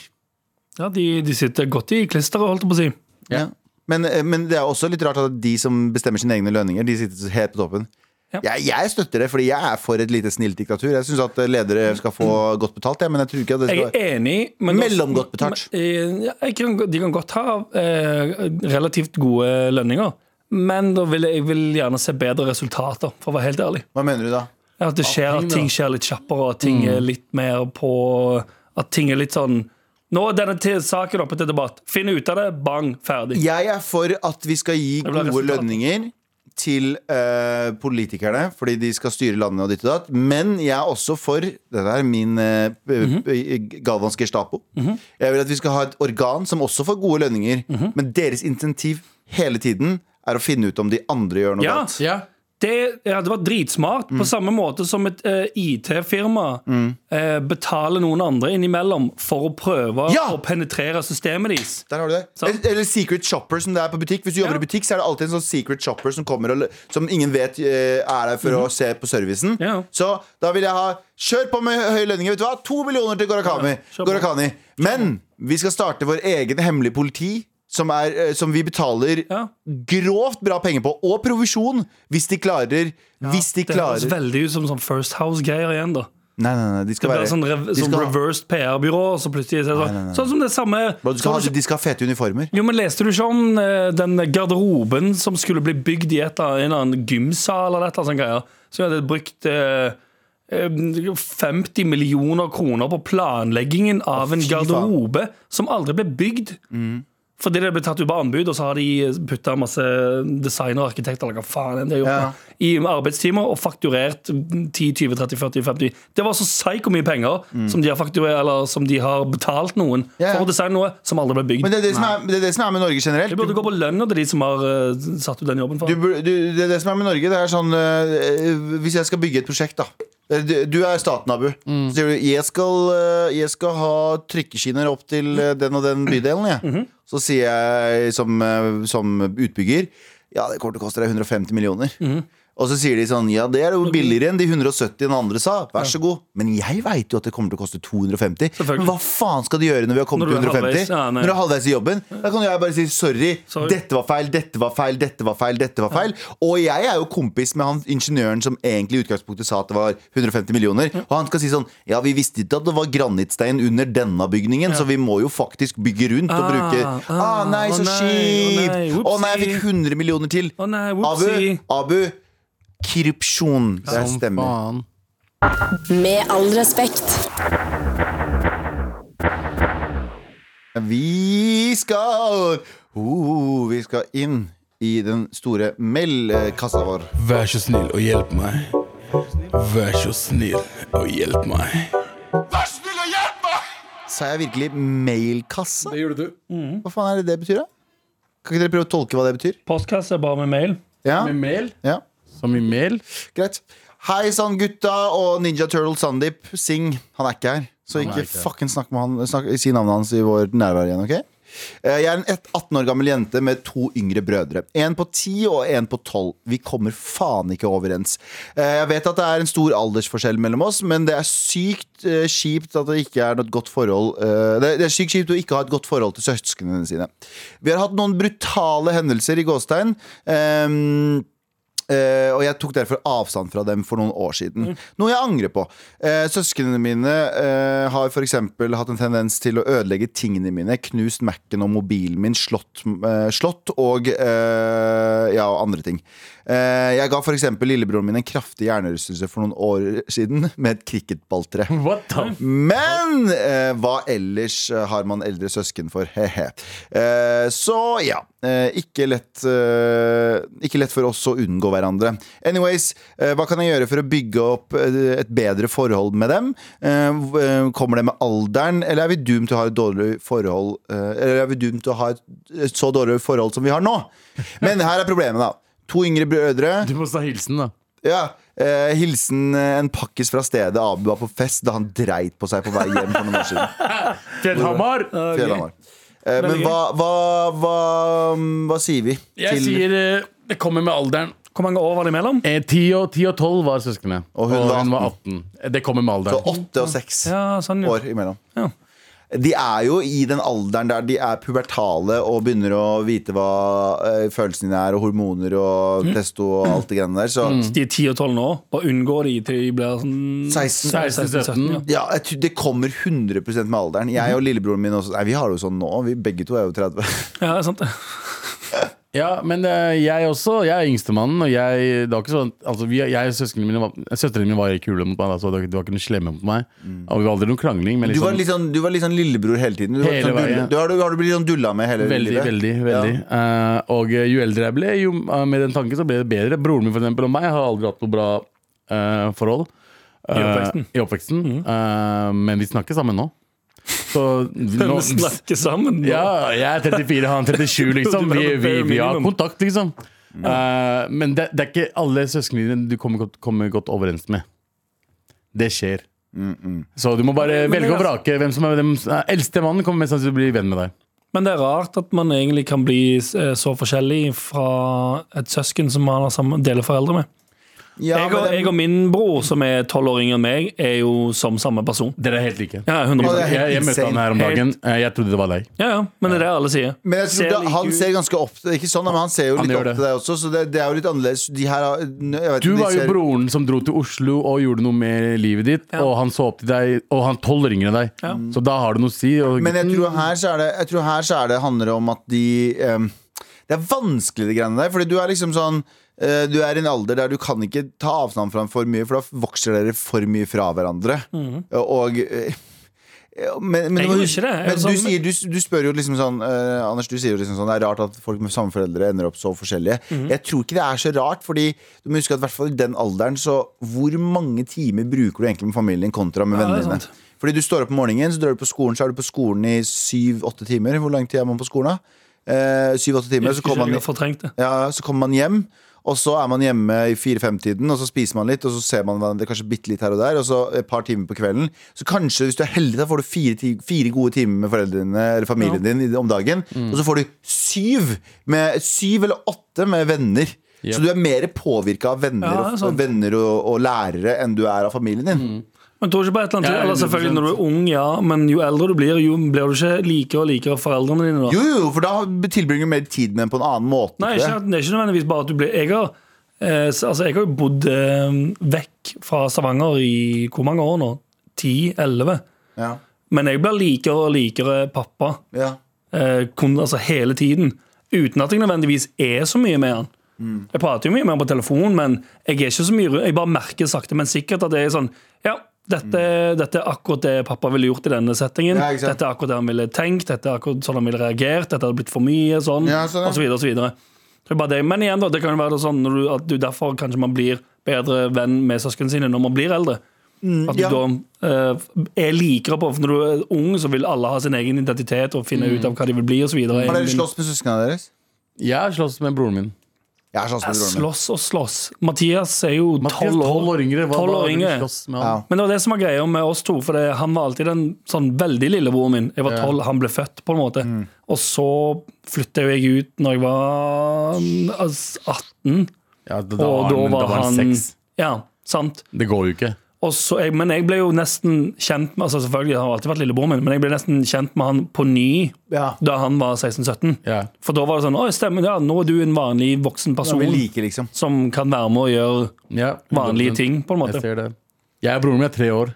S4: Ja, de, de sitter godt i klisteret, holdt jeg på å si.
S3: Ja. Men, eh, men det er også litt rart at de som bestemmer sine egne lønninger, de sitter helt på toppen.
S4: Ja.
S3: Jeg, jeg støtter det, fordi jeg er for et lite snilt diktatur. Jeg syns at eh, ledere skal få godt betalt, jeg, men jeg tror ikke at det
S4: Jeg
S3: skal
S4: er enig. Men
S3: Mellomgodt betalt.
S4: Men, eh, ja, jeg kan, de kan godt ha eh, relativt gode lønninger. Men da vil jeg, jeg vil gjerne se bedre resultater, for å være helt ærlig.
S3: Hva mener du da?
S4: At, det skjer, at ting skjer litt kjappere, at ting er litt mer på At ting er litt sånn Nå er denne til saken oppe til debatt. Finn ut av det. Bang. Ferdig.
S3: Jeg er for at vi skal gi
S4: vil ha
S3: gode
S4: resultater.
S3: lønninger til eh, politikerne, fordi de skal styre landet og ditt og datt. Men jeg er også for Dette er min eh, p-
S4: Mhm.
S3: p- Galvans Gestapo. Jeg vil at vi skal ha et organ som også får gode
S4: Mhm.
S3: lønninger, men deres insentiv hele tiden er å finne ut om de andre gjør noe
S4: Ja.
S3: galt.
S2: Ja.
S4: det hadde vært dritsmart,
S3: Mm.
S4: på samme måte som et eh, IT-firma eh, betaler noen andre innimellom for å prøve
S3: Ja!
S4: å penetrere systemet deres.
S3: Der har du det.
S4: Sant.
S3: Eller, eller secret shopper, som det er på butikk. Hvis du jobber
S4: Sånn. Ja.
S3: i butikk, så er det alltid en sånn secret shopper som kommer og, Som ingen vet eh, er der for å se på servicen.
S4: Mhm. Ja.
S3: Så da vil jeg ha Kjør på med hø- høye lønninger. Vet du hva? To millioner til Gorakami.
S4: kjør på.
S3: Gorakani. Men vi skal starte vår egen hemmelige politi. Som, er, eh, som vi betaler
S4: Ja.
S3: grovt bra penger på, og provisjon, hvis de klarer. hvis de
S4: det
S3: klarer
S4: høres
S3: Nei,
S4: veldig ut som sånn First House-greier igjen. da
S3: nei, nei, de skal
S4: Det
S3: være
S4: blir sånn, rev,
S3: de
S4: sånn
S3: skal, ha-
S4: reversed PR-byrå. og Så plutselig er det sånn, sånn som det samme
S3: Bro, de, skal
S4: så du
S3: ha, de skal ha fete uniformer.
S4: Jo, men Leste du ikke om eh, den garderoben som skulle bli bygd i et, av- en eller annen gymsal? eller et eller annet sånt greier, Som hadde brukt eh, eh, 50 millioner kroner på planleggingen av en
S3: fy faen. Mm.
S4: garderobe som aldri ble bygd. Fordi det ble tatt ut på anbud, og så har de putta masse designer og arkitekter eller hva faen enn de har
S3: Ja.
S4: gjort, i arbeidstimer og fakturert 10, 20, 30, 40, 50 Det var så psyko mye penger som, de har fakturert, eller som de har betalt noen
S3: Mm. Ja, ja.
S4: for å designe noe som aldri ble bygd.
S3: Men det er det, som er, det er det som er med Norge generelt.
S4: Det burde gå på lønna til de som har eh, satt ut den jobben for.
S3: du, bur- du, det, er det som er med Norge, det er sånn eh, Hvis jeg skal bygge et prosjekt, da. Eh, Du, du er staten, Abu.
S4: Mm.
S3: Så sier du jeg skal, eh, jeg skal ha trykkeskinner opp til eh, den og den bydelen. Jeg.
S4: Mhm.
S3: Så sier jeg som, eh, som utbygger Ja, det kommer til å koste deg 150 millioner.
S4: Mhm.
S3: Og så sier de sånn Ja, det er jo billigere enn de 170 den andre sa. Vær så god. Men jeg veit jo at det kommer til å koste 250.
S4: Selvfølgelig.
S3: Hva faen skal de gjøre når vi har kommet
S4: Når
S3: til
S4: du er
S3: 150?
S4: halvveis, ja, nei.
S3: når du er halvveis i jobben. Da kan jeg bare si sorry.
S4: Sorry.
S3: Dette var feil, dette var feil, dette var feil. dette var feil Og jeg er jo kompis med han ingeniøren som egentlig i utgangspunktet sa at det var 150 millioner. Og han skal si sånn Ja, vi visste ikke at det var granittstein under denne bygningen, så vi må jo faktisk bygge rundt og
S4: Ah,
S3: bruke
S4: ah,
S3: Ah, nei,
S4: å
S3: så
S4: nei, å nei,
S3: kjipt! Å nei, jeg fikk 100 millioner til.
S4: Å nei,
S3: Abu,
S4: whoopsie.
S3: Abu korrupsjon. Det
S2: Som
S3: stemmer.
S2: faen.
S5: Med all respekt.
S3: Vi skal oh, Vi skal inn i den store meldkassa vår.
S2: Vær så snill og hjelp meg. Vær så snill og hjelp meg.
S3: Sa jeg virkelig mailkassa?
S2: Det gjorde du.
S3: Hva faen er det det betyr, da? Kan ikke dere prøve å tolke hva det betyr?
S4: Postkasse bare med mail.
S3: Ja,
S2: Med mel?
S3: ja,
S2: Som i mel?
S3: greit Hei sann, gutta og Ninja Turtle Sandeep Singh. Han er ikke her, så
S2: Han er
S3: ikke
S2: ikke her.
S3: fucking snakk med han snakk, Si navnet hans i vår nærvær igjen, OK? Eh, Jeg er en ett- 18 år gammel jente med to yngre brødre. En på 10 og en på 12. Vi kommer faen ikke overens. Eh, Jeg vet at det er en stor aldersforskjell mellom oss, men det er sykt eh, kjipt at det ikke er noe godt forhold eh, Det det er sykt kjipt å ikke ha et godt forhold til søsknene sine. Vi har hatt noen brutale hendelser i gåstegn. Um, Eh, og jeg tok derfor avstand fra dem for noen år siden. Noe jeg angrer på. Uh, søsknene mine eh, har f.eks. hatt en tendens til å ødelegge tingene mine. Knust Mac-en og mobilen min, slått, eh, slått og eh, ja, og andre ting. Eh, jeg ga f.eks. lillebroren min en kraftig hjernerystelse for noen år siden med et cricketballtre.
S2: What the
S3: Men eh, hva ellers eh, har man eldre søsken for? Hehe. Eh, så ja. Eh, ikke, lett, eh, ikke lett for oss å unngå hverandre. Anyways, eh, hva kan jeg gjøre for å bygge opp eh, et bedre forhold med dem? Eh, v- eh, kommer det med alderen, eller er vi doomed til å ha et dårlig forhold eh, Eller er vi doomed til å ha et, et så dårlig forhold som vi har nå? Men her er problemet, da. To yngre brødre.
S2: Du må ta hilsen, da.
S3: Ja, eh, Hilsen eh, en pakkis fra stedet Abu var på fest da han dreit på seg på vei hjem for noen år siden.
S2: Fjellhamar!
S3: Fjellhamar. Eh, men
S4: Veldig
S3: hva, hva, hva, mm, hva sier vi?
S2: Jeg sier eh, det kommer med alderen.
S4: Hvor mange år var det imellom?
S2: Eh, 10 og 10 og 12 var søsknene.
S3: Og hun var
S2: 18. Eh, Det kommer med
S3: Så
S2: alderen.
S3: åtte og seks
S4: Ja, sånn, ja.
S3: år imellom.
S4: Ja.
S3: De er jo i den alderen der de er pubertale og begynner å vite hva eh, følelsene dine er, og hormoner
S4: Mm.
S3: og testo og alt det greiene der. Så
S4: De er 10 og 12 nå. Bare unngå de til de blir sånn
S3: 16
S4: 16-17. Ja.
S3: Ja, jeg tror det kommer 100 med alderen.
S4: Mhm.
S3: Jeg og lillebroren min også. Nei, vi har det jo sånn nå. Vi begge to er jo 30.
S4: ja, det er sant. det.
S2: Ja, men eh, jeg også. Jeg er yngstemannen, og jeg Det var ikke sånn altså, vi, Jeg og søsknene mine var- Søstrene mine var ikke kule mot meg, da, så det var ikke- det var ikke noe slemme mot meg. Og vi var aldri noen krangling, men
S3: Mm. Du var
S2: liksom
S3: litt sånn, du var litt sånn lillebror hele tiden. Du var
S2: Hele
S3: sånn
S2: veien.
S3: dulle- Du har, du har du blitt sånn dulla med hele
S2: Veldig,
S3: livet.
S2: veldig. veldig Eh, Og eh, jo eldre jeg ble, jo eh, med den tanken så ble det bedre. Broren min for eksempel, og meg har aldri hatt noe bra eh, forhold. eh,
S4: I oppveksten. Mm.
S2: I oppveksten Eh, men vi snakker sammen nå. Så
S4: Men
S2: nå,
S4: vi snakker sammen nå.
S2: ja, jeg er 34, han er 37, liksom. Vi, vi, vi har kontakt, liksom. Eh, men det, det er ikke alle søsknene dine du kommer godt, kommer godt overens med. Det skjer. Så du må bare
S4: Men- altså- men
S2: velge
S4: det
S2: og
S4: er-
S2: vrake. Hvem som er den eldste mannen, kommer mest sannsynlig til å bli venn med deg.
S4: Men det er rart at man egentlig kan bli eh, så forskjellig fra et søsken som man har samme, deler foreldre med.
S3: Ja,
S4: jeg, og,
S3: men-
S4: jeg og min bror, som er tolv år yngre enn meg, er jo som samme person.
S2: Dere er helt like.
S4: Ja,
S3: Ja,
S4: 100
S3: det er helt
S2: Jeg, jeg møtte han
S3: insane.
S2: her om dagen. Eh, Jeg trodde det var deg.
S4: ja, ja, men det er det alle sier.
S3: Men jeg tror
S4: Ser
S3: da,
S4: like
S3: han
S4: ut.
S3: ser ganske opp til Ikke sånn, men han ser jo
S2: Han
S3: litt
S2: gjør
S3: opp
S2: det.
S3: til deg også, så det, det er jo litt annerledes. De her har jeg vet,
S2: Du
S3: ikke, de
S2: var jo
S3: ser-
S2: broren som dro til Oslo og gjorde noe med livet ditt,
S4: Ja.
S2: og han så opp til deg, og han tolv ringer deg. Så da har du noe å si. Og
S3: Men jeg tror her så er det, jeg tror her så er det handler det om at de ehm, Det er vanskelig, de greiene der. Fordi du er liksom sånn eh, Du er i en alder der du kan ikke ta avstand fra ham for mye, for da vokser dere for mye fra hverandre. Og eh, men, men,
S4: Mhm. Jeg
S3: du må
S4: gjorde
S3: huske-
S4: ikke det. Jeg
S3: men
S4: var sånn-
S3: du,
S4: sammen
S3: sier, du, du spør jo liksom sånn eh, Anders, du sier jo liksom sånn Det er rart at folk med samme foreldre ender opp så forskjellige.
S4: Mhm.
S3: Jeg tror ikke det er så rart, Fordi du må huske at i hvert fall i den alderen, så hvor mange timer bruker du egentlig med familien kontra med
S4: Ja, det
S3: vennene
S4: er
S3: dine?
S4: sant.
S3: Fordi du står opp om morgenen, så drar du på skolen, så er du på skolen i syv-åtte timer. Hvor lang tid er man på skolen, da? Eh, Syv-åtte timer, så
S4: Ikke
S3: kommer
S4: jeg
S3: man
S4: har fortrengt det.
S3: ja, så kommer man hjem, og så er man hjemme i fire-fem-tiden, og så spiser man litt, og så ser man hverandre kanskje bitte litt her og der, og så et par timer på kvelden. Så kanskje, hvis du er heldig, da får du fire, ti- fire gode timer med foreldrene eller familien din i- om dagen,
S4: Mm.
S3: og så får du syv, med, syv eller åtte med venner. Så du er mer påvirka av venner,
S4: Ja, det er
S3: og-
S4: sant. Mm.
S3: venner og, og lærere enn du er av familien din.
S4: Men tror ikke på et eller annet
S2: Ja,
S4: Eller selvfølgelig
S2: 100%.
S4: når du er ung, ja, men jo eldre du blir, jo blir du ikke likere og likere foreldrene dine. da
S3: Jo, jo, for da tilbringer du mer tid med dem på en annen måte.
S4: Nei,
S3: tror
S4: ikke,
S3: jeg.
S4: at- det er ikke nødvendigvis bare at du blir Jeg har, eh, s- altså, jeg har jo bodd eh, vekk fra Stavanger i hvor mange år nå? 10-11.
S3: Ja.
S4: Men jeg blir likere og likere pappa
S3: Ja.
S4: eh, kun, altså, hele tiden. Uten at jeg nødvendigvis er så mye med han.
S3: Mm.
S4: Jeg prater jo mye med han på telefon, men jeg er ikke så mye ru- Jeg bare merker sakte, men sikkert at det er sånn Ja, dette, dette er akkurat det pappa ville gjort i denne settingen.
S3: Mm. Ja, ikke sant.
S4: dette er akkurat det han ville tenkt, dette er akkurat sånn han ville reagert, dette hadde blitt for mye, sånn,
S3: Ja, sånn, ja.
S4: og så videre og så videre. Det er bare det. Men igjen, da, det kan jo være det sånn når du, at du derfor kanskje man blir bedre venn med søsknene sine når man blir eldre.
S2: Mm,
S4: At du
S3: ja.
S4: da eh, er likere på For når du er ung, så vil alle ha sin egen identitet og finne
S2: Mm.
S4: ut av hva de vil bli, og så videre.
S3: Har dere slåss med søsknene deres?
S2: Jeg har slåss med broren min.
S3: Jeg har slåss
S4: Ja,
S3: med broren min.
S4: Slåss og slåss. Mathias er jo
S2: Mathias,
S4: tolv
S2: år
S4: år.
S2: yngre. Hva
S4: 12
S2: da
S4: år
S2: har du
S4: yngre.
S2: slåss med han?
S3: Ja.
S4: Men det var det som var greia med oss to, for det, han var alltid den sånn veldig lillebroren min. Jeg var
S2: Ja. Mm.
S4: tolv, han ble født, på en måte. Og så flytta jo jeg ut når jeg var mm, altså, 18,
S2: Ja, da,
S4: og
S2: da,
S4: da
S2: han,
S4: var han
S2: seks.
S4: Ja, sant.
S2: Det går jo ikke.
S4: Og så, jeg, men jeg ble jo nesten kjent med altså Selvfølgelig, han har alltid vært lillebroren min, men jeg ble nesten kjent med han på ny
S3: Ja.
S4: da han var 16-17.
S2: Ja.
S4: For da var det sånn Å, stemmer, ja, nå er du en vanlig voksen
S3: Som
S4: person
S3: vi liker, liksom.
S4: som kan være med og gjøre
S2: Ja,
S4: vanlige
S2: 100%.
S4: ting, på en måte.
S2: Jeg ser det. Jeg og broren min er tre år.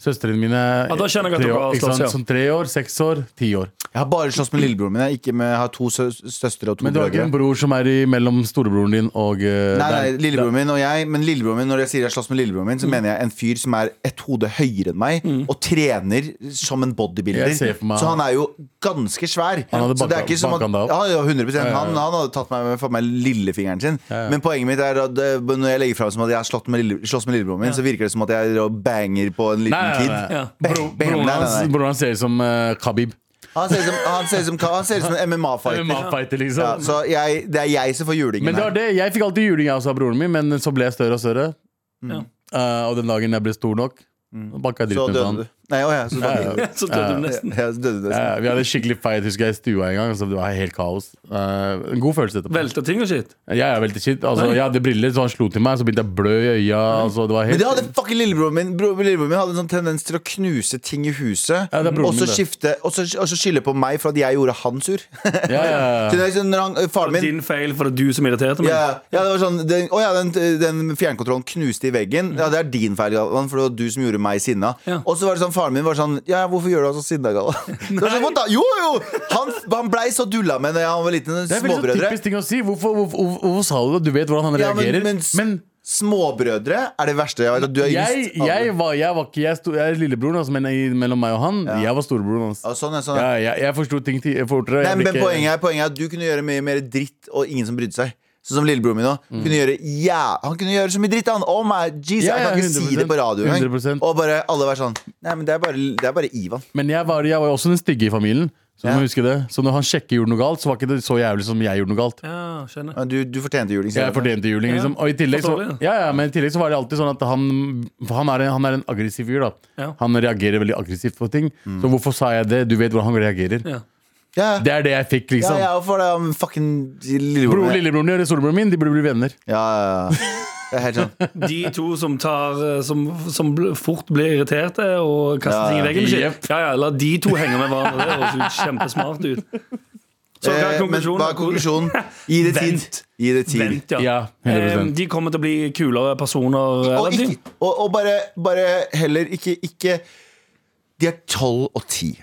S2: Søstrene mine er
S4: Ja, da skjønner jeg at
S2: tre
S4: dere
S2: år,
S4: har
S2: ikke
S4: slåss,
S2: sant?
S4: ja.
S2: Som tre år, seks år, ti år.
S3: Jeg har bare slåss med lillebroren min. Jeg, er ikke med, jeg har to sø søstre og to
S2: Men du har ikke
S3: brødre.
S2: en bror som er i mellom storebroren din og eh,
S3: Nei, nei,
S2: deg?
S3: lillebroren min og jeg Men lillebroren min, når jeg sier jeg slåss med lillebroren min, så
S2: Mm.
S3: mener jeg en fyr som er et hode høyere enn meg, og trener som en bodybuilder.
S2: Jeg ser for meg-
S3: Så han er jo ganske svær.
S2: Han hadde
S3: så det er
S2: banka-
S3: ikke som at,
S2: banka han da opp.
S3: ja, ja, 100
S2: ja, ja.
S3: Han, han hadde tatt meg med, fått meg lillefingeren sin. Men poenget mitt er at eh, når jeg legger fram som at jeg har slått med, lille, slåss med lillebroren min, så virker det som at jeg banger på en liten
S2: Nei, nei, nei.
S3: kid.
S4: Ja.
S3: Bang,
S2: Bro-
S3: bang,
S2: Broren
S3: nei, nei,
S2: hans
S3: nei.
S2: broren hans ser ut som eh, Khabib.
S3: Han ser ut som, han ser ut som, han ser ut som en MMA-fighter.
S2: MMA-fighter,
S3: Ja,
S2: liksom.
S3: så jeg, det er jeg som får julingen
S2: Men det var
S3: her.
S2: det. Jeg fikk alltid juling av også av broren min, men så ble jeg større og større.
S4: Ja.
S2: Eh, og den dagen jeg ble stor nok, banka jeg dritten
S3: Mm. Så
S2: ut av
S3: døde
S2: han.
S3: du. Nei, å ja, så
S2: sånn. Ja,
S3: døde du.
S2: ja.
S4: Så døde du nesten.
S3: Ja, så døde du.
S2: Ja, Eh, vi hadde skikkelig fight husker jeg, i stua en gang. Så det var helt kaos. Eh, en god følelse etterpå.
S4: Velta ting og shit.
S2: Jeg er veldig shit. Altså, jeg hadde briller, så han slo til meg, så begynte jeg å blø i øya. Altså, det var
S3: Men
S2: helt...
S3: det hadde fucking lillebroren min Bro, Lillebroren min hadde en sånn tendens til å knuse ting i huset.
S2: Ja, det er broren
S3: og så
S2: min, det.
S3: skifte Og så og så skylde på meg for at jeg gjorde han sur.
S2: ja, ja, ja.
S3: Så det er sånn, når han, faren min
S4: Din feil, for det er du som irriterte meg.
S3: ja, ja, det var sånn den, Å ja, den, den fjernkontrollen knuste i veggen. Ja, det er din feil, Galvan, for det var du som gjorde meg sinna.
S4: Ja.
S3: Og så var det sånn, faren min var sånn Ja, hvorfor gjør du deg så sinna, Galvan? Det var sånn, «Hva da? Jo, jo! Han, han blei så dulla med da han var liten.
S2: Det er veldig sånn
S3: Småbrødre.
S2: typisk ting å si. Hvorfor, hvorfor, hvorfor, hvorfor sa du det? Du vet hvordan han
S3: Ja, men-
S2: reagerer.
S3: men
S2: men,
S3: s- Småbrødre er det verste jeg vet. at Du er
S2: jeg,
S3: yngst. av
S2: jeg,
S3: alle.
S2: var, jeg var ikke Jeg, sto, jeg er lillebroren, altså, men i- mellom meg og han Jeg var storebroren hans.
S3: ja, sånn, er- sånn. er-
S2: Ja, jeg jeg forsto ting ti- fortere.
S3: Nei,
S2: jeg
S3: men
S2: ble ikke-
S3: poenget, er, poenget er at du kunne gjøre mye mer dritt, og ingen som brydde seg. Sånn som lillebroren min òg. Kunne gjøre ja, han kunne gjøre så mye dritt, han. Oh my,
S2: Mm.
S3: Jesus,
S2: Ja,
S3: jeg kan
S2: ja,
S3: ikke si det på radio
S2: 100%.
S3: engang. Og bare alle være sånn Nei, men det er bare, det er bare Ivan.
S2: Men jeg var, jeg var jo også den stygge i familien. Så du må huske det Så når han sjekker gjorde noe galt, så var ikke det så jævlig som jeg gjorde noe galt.
S4: Ja, skjønner.
S3: Ja, Du, du fortjente juling. sier
S2: Jeg
S3: jeg.
S2: fortjente juling, liksom. Og i tillegg så,
S4: Forståelig.
S2: ja, ja, men i tillegg så var det alltid sånn at han, han, er, en- han er en aggressiv fyr. da
S4: Ja.
S2: Han reagerer veldig aggressivt på ting.
S3: Mm.
S2: Så hvorfor sa jeg det? Du vet hvordan han reagerer.
S4: Ja.
S3: Ja, ja.
S2: Det er det jeg fikk,
S3: Ja,
S2: liksom.
S3: jeg er for det om fucking
S2: Bror,
S3: lillebroren. min.
S2: lillebroren din og storebroren min, de burde bli venner.
S3: Ja, ja, ja. Det er helt sånn.
S4: De to som, tar, eh, som, som bl- fort blir irriterte og kaster
S3: Ja,
S4: ting i veggen. og
S2: jepp.
S4: shit. Ja, ja, La de to henge med hverandre. Det høres jo kjempesmart ut. Så hva
S3: Eh,
S4: er
S3: Men hva er
S4: konklusjonen?
S3: konklusjonen? Gi det tid.
S4: Vent.
S3: Gi det tid.
S4: Vent, ja.
S2: Ja, 100%.
S4: Eh, De kommer til å bli kulere personer. eh,
S3: Og,
S4: relativt.
S3: ikke, og, og bare, bare heller ikke, ikke De er 12 og 10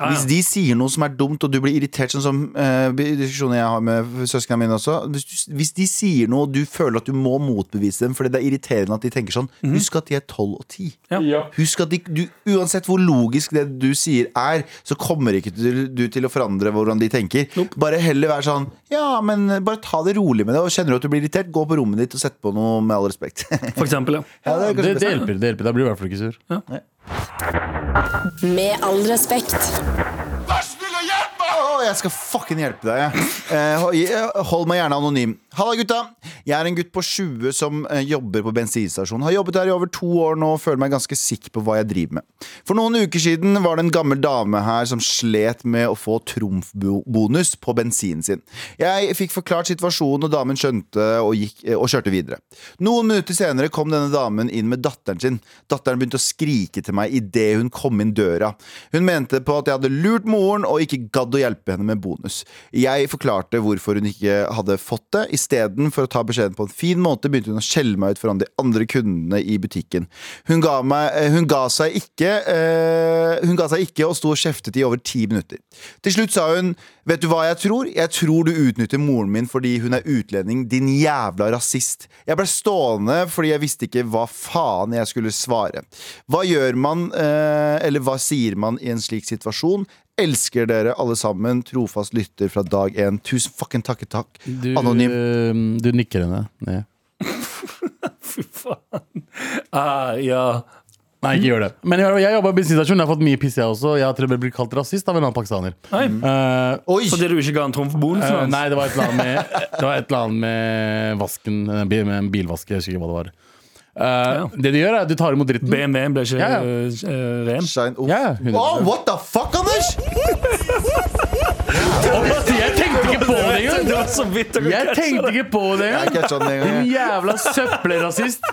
S4: Ah, Ja, ja.
S3: Hvis de sier noe som er dumt Og du blir irritert Sånn som eh, diskusjoner jeg har med søskene mine også hvis, du, hvis de sier noe Og du føler at du må motbevise dem Fordi det er irriterende at de tenker sånn Husk at de er 12 og 10
S4: Ja.
S3: Husk at de, du, uansett hvor logisk det du sier er Så kommer ikke du, du til å forandre hvordan de tenker Bare heller være sånn Ja, men bare ta det rolig med det Og kjenner du at du blir irritert Gå på rommet ditt og sett på noe med all respekt ja,
S4: For eksempel, ja.
S3: det er kanskje
S2: Det,
S3: best.
S2: det hjelper. det hjelper Da blir du i hvert fall ikke sur.
S5: Med all respekt.
S3: Vær snill og hjelp meg! Å, jeg skal fucking hjelpe deg. jeg. Eh, ho- jeg- hold meg gjerne anonym. Halla, gutta. Jeg er en gutt på 20 som eh, jobber på bensinstasjon. Har jobbet her i over to år nå og føler meg ganske sikker på hva jeg driver med. For noen uker siden var det en gammel dame her som slet med å få trumfbonus på bensinen sin. Jeg fikk forklart situasjonen, og damen skjønte og, gikk, eh, og kjørte videre. Noen minutter senere kom denne damen inn med datteren sin. Datteren begynte å skrike til meg idet hun kom inn døra. Hun mente på at jeg hadde lurt moren og ikke gadd å hjelpe henne med bonus. Jeg forklarte hvorfor hun ikke hadde fått det. Istedenfor å ta beskjeden på en fin måte, begynte hun å skjelle meg ut foran de andre kundene i butikken. Hun ga, meg, eh, hun ga seg ikke eh, Hun ga seg ikke og sto og kjeftet i over ti minutter. Til slutt sa hun Vet du hva jeg tror? Jeg tror du utnytter moren min fordi hun er utlending, din jævla rasist. Jeg ble stående fordi jeg visste ikke hva faen jeg skulle svare. Hva gjør man, eh, eller hva sier man i en slik situasjon? Elsker dere alle sammen, trofast lytter fra dag én. Tusen fucking takke takk.
S2: Du,
S3: Anonym.
S2: eh, du nikker henne. Ja.
S4: Fy faen. Ah, ja.
S2: Nei, ikke gjør det. Men jeg, jeg jobber i bensinstasjon. Jeg har fått mye piss, jeg også. Jeg har til og med blitt kalt rasist av en annen pakistaner.
S4: Nei.
S2: Eh,
S3: Oi!
S4: Fordi du ikke ga en trumfbonus?
S2: Eh,
S4: hans?
S2: nei, det var et eller annet med, det var et eller annet med vasken eh, bil- Med en bilvask. Jeg husker ikke hva det var. Eh,
S4: Ja.
S2: Det du gjør, er at du tar imot dritten.
S4: BMW-en ble ikke
S2: Ja, ja.
S4: eh, eh, ren.
S3: Shine. Oh.
S2: Ja, 100%.
S3: Oh, what the fuck, Anders?!
S2: Jeg tenkte ikke på det
S4: Det
S2: engang!
S4: var så vidt dere
S2: Jeg tenkte ikke på det
S3: Jeg
S2: engang!
S3: catcha den en
S2: Din
S3: gang.
S2: jævla søppelrasist!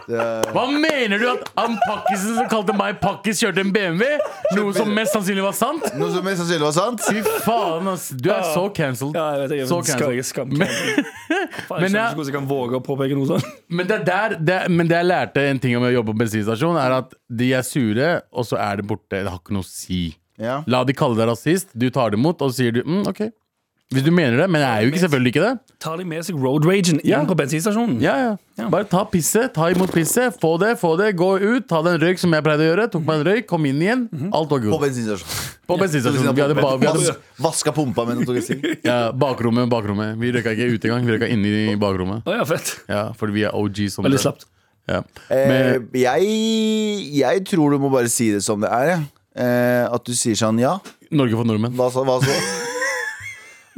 S2: Hva mener du at han pakkisen som kalte meg pakkis, kjørte en BMW? Noe som mest sannsynlig var sant?
S3: Noe som mest sannsynlig var sant.
S2: Fy faen, ass. Du er så cancelled.
S4: Ja, jeg vet ikke, jeg
S2: Så
S4: skal
S2: cancelled.
S4: jeg skam Men jeg
S2: Men
S4: skjønner
S2: jeg-
S4: ikke hvordan jeg kan våge å påpeke noe sånt.
S2: Men det, er der, det, men det jeg lærte en ting om å jobbe på bensinstasjon, er at de er sure, og så er det borte. Det har ikke noe å si.
S3: Ja.
S2: La de kalle deg rasist, du tar det imot, og så sier du mm, OK. Hvis du mener det, men jeg er jo ikke, selvfølgelig ikke det.
S4: Tar de med seg road ragen inn
S2: Ja.
S4: på bensinstasjonen?
S2: Ja, ja. Bare ta pisset, ta imot pisset, få det, få det, gå ut, ta deg en røyk som jeg pleide å gjøre, tok meg en røyk, kom inn igjen. Alt var
S3: Mhm. På
S2: good.
S3: bensinstasjonen.
S2: På bensinstasjonen. sånn- Vi hadde, ba, vi hadde
S3: Vaska pumpa mens hun tok en sigg.
S2: ja, bakrommet, bakrommet. Vi røyka ikke ute engang, vi røyka inne i bakrommet.
S4: Å ja, fett.
S2: Ja, fordi vi er OG som
S4: Veldig slapt.
S2: Ja.
S3: Eh,
S2: Men,
S3: jeg, jeg tror du må bare si det som det er. jeg. Eh, at du sier sånn ja.
S2: Norge for nordmenn.
S3: Hva så? Hva så?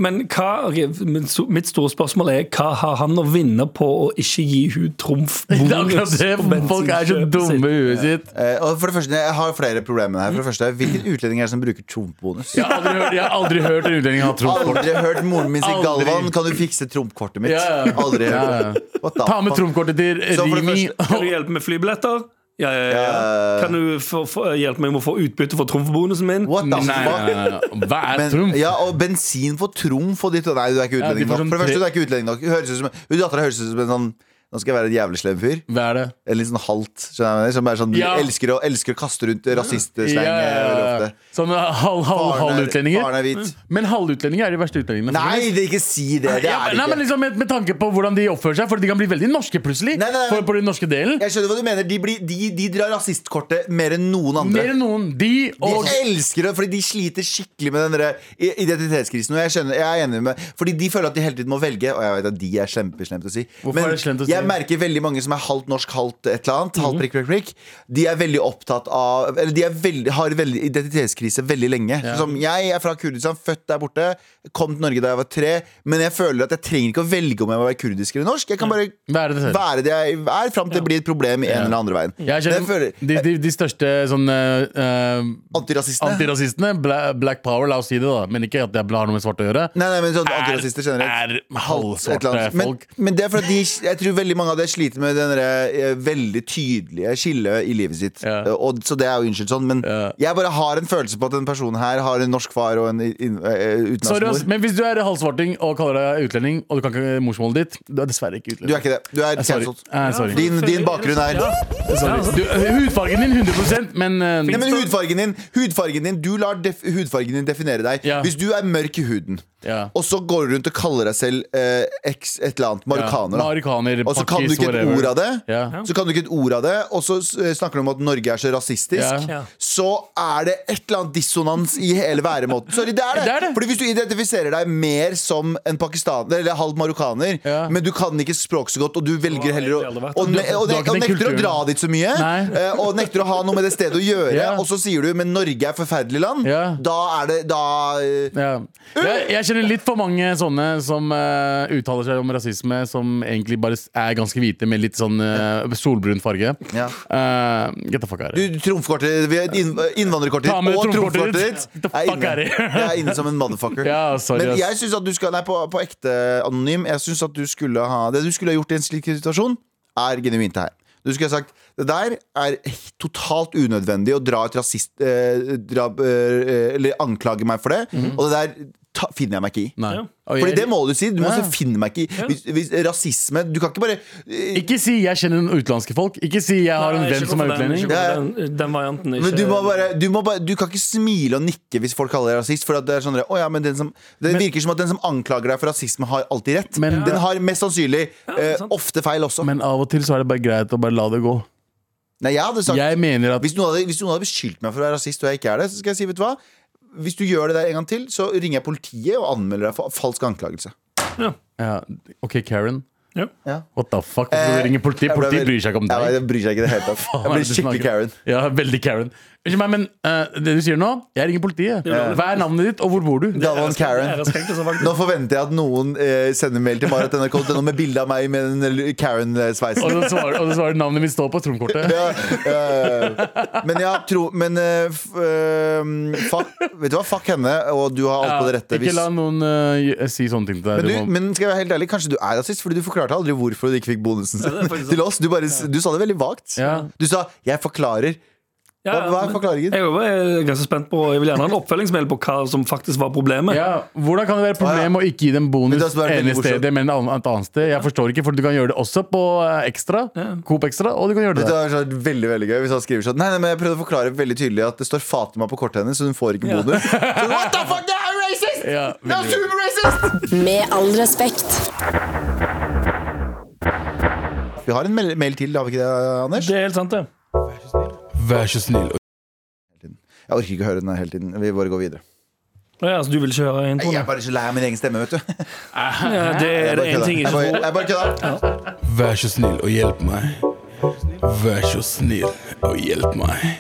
S4: Men hva, ok, men so- mitt store spørsmål er hva har han å vinne på å ikke gi hun
S2: Det er akkurat
S4: trumfbonus?
S2: det. Folk er så dumme i huet sitt.
S3: Eh, og for det første, Jeg har flere problemer her.
S2: Mm.
S3: For det første, Hvilken utlending er det som bruker trumpbonus?
S2: Jeg har aldri hørt, jeg har aldri hørt en utlending ha trumfkort.
S3: Aldri hørt moren min si
S2: Aldri.
S3: 'Galvan, kan du fikse trumpkortet mitt?'
S2: Ja, ja.
S3: Aldri
S2: Ja,
S3: hørt
S2: ja.
S3: What the
S2: Ta med
S3: fuck?
S2: trumfkortet til
S3: Så for det
S2: Rimi.
S4: Kan du hjelpe med flybilletter? Ja, ja, ja.
S3: Ja.
S4: Kan du få- få- hjelpe meg med å få utbytte for trumfbonusen min?
S3: What the
S2: Nei, nei,
S3: fuck?
S2: nei, nei. Hva er
S3: Men,
S2: trumf?
S3: ja, og bensin for trumf og ditt og Nei, du er ikke
S2: Ja, de
S3: utlending
S2: får
S3: nok.
S2: sånn
S3: For det
S2: tre-
S3: første, du er ikke utlending nok. Hun høres ut som- hun Dattera høres ut som en sånn Nå skal jeg være en jævlig slem fyr.
S2: Hva er det?
S3: En litt sånn halvt. skjønner jeg hva jeg mener, Som er sånn,
S2: Ja.
S3: elsker, å, elsker å kaste rundt rasistslang.
S2: Ja, Sånn, ja,
S3: eh, veldig
S2: ja.
S3: ofte.
S2: Sånne halv, halv,
S3: Faren er- Faren
S2: halvutlendinger.
S3: er hvit.
S2: Men halvutlendinger er de verste utlendingene.
S3: Nei, det, ikke si det. Det
S2: Ja,
S3: er
S2: Mm.
S3: det
S2: nei, men
S3: ikke.
S2: liksom med, med tanke på hvordan de oppfører seg, for de kan bli veldig norske plutselig.
S3: Nei, nei, nei.
S2: For, på den norske delen
S3: Jeg skjønner hva du mener. De, blir, de, de drar rasistkortet mer enn noen andre.
S2: Mer enn noen. De
S3: de
S2: og
S3: elsker det, fordi de sliter skikkelig med den der i- identitetskrisen. Og jeg, skjønner, jeg er enig med Fordi de føler at de hele tiden må velge. Og jeg vet at de er slemme, slemt å si.
S2: Hvorfor er det slemt å si Mhm.
S3: jeg jeg merker veldig mange som er halvt norsk, halvt et eller annet, halvt prikk, prikk, prikk, de er veldig opptatt av Eller de er veldig, har veldig identitetskrise veldig lenge. Sånn Som jeg er fra Kurdistan, født der borte, kom til Norge da jeg var tre, men jeg føler at jeg trenger ikke å velge om jeg må være kurdisk eller norsk. Jeg kan bare
S2: Være det selv.
S3: være det jeg er, fram til det blir et problem i en eller andre veien.
S2: Jeg
S3: Men jeg
S2: kjenner,
S3: føler-
S2: de, de, de største sånn eh, eh,
S3: Antirasistene.
S2: antirasistene, bla, Black Power, la oss si det, da, men ikke at det har noe med svarte å gjøre,
S3: Nei, nei, men sånn
S2: Er-
S3: antirasister generelt.
S2: er
S3: Et eller
S2: halvsvarte
S3: annet. men,
S2: folk.
S3: Men det er fordi de, jeg tror veldig mange av dem sliter med den derre, eh, veldig tydelige skillet i livet sitt.
S2: Ja.
S3: Eh, Og, så det er jo unnskyld sånn, men
S2: Ja.
S3: jeg bare har en følelse på at den personen her har en norsk far og en i- inn- eh,
S2: Sorry,
S3: utenlandsk
S2: ass,
S3: mor.
S2: men hvis du er halvsvarting og kaller deg utlending, og du kan ikke morsmålet ditt, du er dessverre ikke utlending.
S3: Du er ikke det. Du er
S2: Eh, sorry.
S3: cancelled.
S2: Eh, sorry.
S3: Din- din bakgrunn er-
S4: Ja.
S2: sorry.
S4: altså,
S2: sånn, altså. Du, eh, hudfargen din 100 men, eh,
S3: Nei, men hudfargen din, hudfargen din Du lar def hudfargen din definere deg.
S2: Ja.
S3: Hvis du er mørk i huden,
S2: Ja.
S3: og så går du rundt og kaller deg selv eh, eks, et eller annet, marokkaner, da.
S2: Marikaner,
S3: Og så kan du
S2: pakkis,
S3: ikke et
S2: whatever.
S3: ord av det.
S2: Ja.
S3: Så kan du ikke et ord av det, og så eh, snakker du om at Norge er så rasistisk.
S4: Ja. Ja.
S3: Så er det et eller annet dissonans i hele væremåten. Sorry, det er det.
S2: Det er det.
S3: Fordi hvis du identifiserer deg mer som en pakistaner eller halv marokkaner,
S2: Ja. men
S3: men du kan ikke språk så godt, og du velger
S4: har
S3: heller å
S4: aldri vært.
S3: og, ne og,
S2: Du
S3: ne
S2: har ikke
S3: og
S2: den
S3: nekter å
S2: kulturen.
S3: dra dit så mye,
S2: Nei.
S3: eh, og nekter å ha noe med det stedet å gjøre,
S2: Ja.
S3: og så sier du 'men Norge er forferdelig land',
S2: Ja.
S3: da er det da eh,
S2: Ja. Jeg, jeg kjenner litt for mange sånne som eh, uttaler seg om rasisme, som egentlig bare s- er ganske hvite med litt sånn eh, solbrun farge.
S3: Ja.
S2: Eh, get the fuck out of
S3: Du,
S2: here.
S3: du trumfkortet ditt, inn- innvandrerkortet
S2: Ta med
S3: ditt og
S2: trumfkortet
S3: trumfkortet
S2: ditt.
S3: ditt
S2: The
S3: er
S2: fuck
S3: inne.
S2: er det?
S3: Jeg er inne som en motherfucker.
S2: Ja, sorry,
S3: Men
S2: ass.
S3: jeg synes at du skal Nei, på, på ekte anonym, jeg syns at du skulle ha Det du skulle ha gjort i en slik situasjon, er genuint det her. Du skulle ha sagt det der er totalt unødvendig å dra et rasist eh, dra, eh, Eller anklage meg for det.
S2: Mhm.
S3: Og det der ta, finner jeg meg ikke i.
S2: Nei.
S4: Ja.
S2: Og
S3: Fordi
S2: jeg,
S3: det må du si. Du må
S2: Ja.
S3: også finne meg ikke i. Hvis, hvis, rasisme Du kan ikke bare eh,
S2: Ikke si 'jeg kjenner noen utenlandske folk'. Ikke si 'jeg har en
S4: Nei,
S2: venn
S4: ikke
S2: som er
S4: gå for den,
S2: utlending'.
S4: ikke gå for Den, den varianten er ikke
S3: Men du, må bare, du, må bare, du kan ikke smile og nikke hvis folk kaller deg rasist. For at det er sånn, «Å ja, men den som, det virker som at den som anklager deg for rasisme, har alltid rett.
S2: Men-
S3: den har mest sannsynlig eh,
S4: sant.
S3: ofte feil også.
S2: Men av og til så er det bare greit å bare la det gå.
S3: Nei, jeg hadde sagt
S2: Jeg mener at
S3: hvis, noen hadde, hvis noen hadde beskyldt meg for å være rasist, og jeg ikke er det, så skal jeg si, vet du hva? Hvis du gjør det der en gang til, så ringer jeg politiet og anmelder deg for falsk anklagelse.
S2: ja, OK, Karen.
S4: Ja.
S3: Ja.
S2: What the fuck? Hvorfor
S3: Eh,
S2: ringer politiet?
S3: jeg ble
S2: Politiet
S3: vel-
S2: bryr seg ikke om deg.
S3: Jeg, jeg bryr seg ikke i det hele tatt.
S2: Hva
S3: Jeg
S2: er
S3: blir
S2: det du
S3: skikkelig
S2: snakker om?
S3: Karen.
S2: Ja, veldig Karen. Unnskyld meg, men eh, det du sier nå Jeg ringer politiet. Hva er navnet ditt, og hvor bor du?
S3: Galvan Karen.
S4: Æreskrenkelse, faktisk.
S3: Nå forventer jeg at noen eh, sender mail til marat.nrk.no med bilde av meg med den Karen-sveisen.
S2: Og så svarer, og så svarer navnet mitt står på tromkortet.
S3: ja, eh, men jeg tror Men eh, f, eh, fuck, vet du hva, fuck henne, og du har alt på det rette.
S2: ikke
S3: Hvis,
S2: la noen eh, gj- si sånne ting til deg.
S3: men, du,
S2: Du må-
S3: men skal jeg være helt ærlig, kanskje du er rasist, Fordi du forklarte aldri hvorfor du ikke fikk bonusen
S4: det er
S3: sin
S4: faktisk sant.
S3: til oss. Du, bare, du sa det veldig vagt.
S2: Ja.
S3: Du sa 'jeg forklarer'.
S4: Ja,
S3: Hva,
S4: ja,
S3: hva er
S4: men-
S3: forklaringen?
S4: Jeg er jo bare ganske spent på Jeg vil gjerne ha en oppfølgingsmail på hva som faktisk var problemet.
S2: ja, hvordan kan det være et problem å ikke gi dem bonus
S3: Ah, Men det er også
S2: det
S3: bare
S2: ene
S3: veldig morsomt.
S2: stedet, men et annet- et annet sted? Jeg forstår ikke, for du kan gjøre det også på eh, Ekstra. Coop Ekstra, og du kan gjøre det
S3: Det
S2: der.
S3: hadde vært veldig veldig gøy hvis han skriver sånn Nei, nei, men jeg prøvde å forklare veldig tydelig at det står Fatima på kortet hennes, så hun får ikke bonus. Så, What the fuck, det er racist!
S2: Ja,
S3: Det er
S2: veldig bra.
S3: super racist!
S5: Med all respekt.
S3: Vi har en mel- mail til, har vi ikke det, Anders?
S4: Det er helt sant, det.
S2: Vær så snill.
S3: Jeg orker ikke å høre den her hele tiden. Vi bare går videre.
S4: Ja, altså, du vil ikke høre
S3: Jeg er
S4: introen?
S3: bare så lei av min egen stemme, vet du.
S4: Ja, det er det én ting
S3: Jeg
S4: ikke
S3: bare,
S4: får.
S3: jeg bare kødda.
S6: Vær så snill og hjelp meg. Vær så snill og hjelp meg.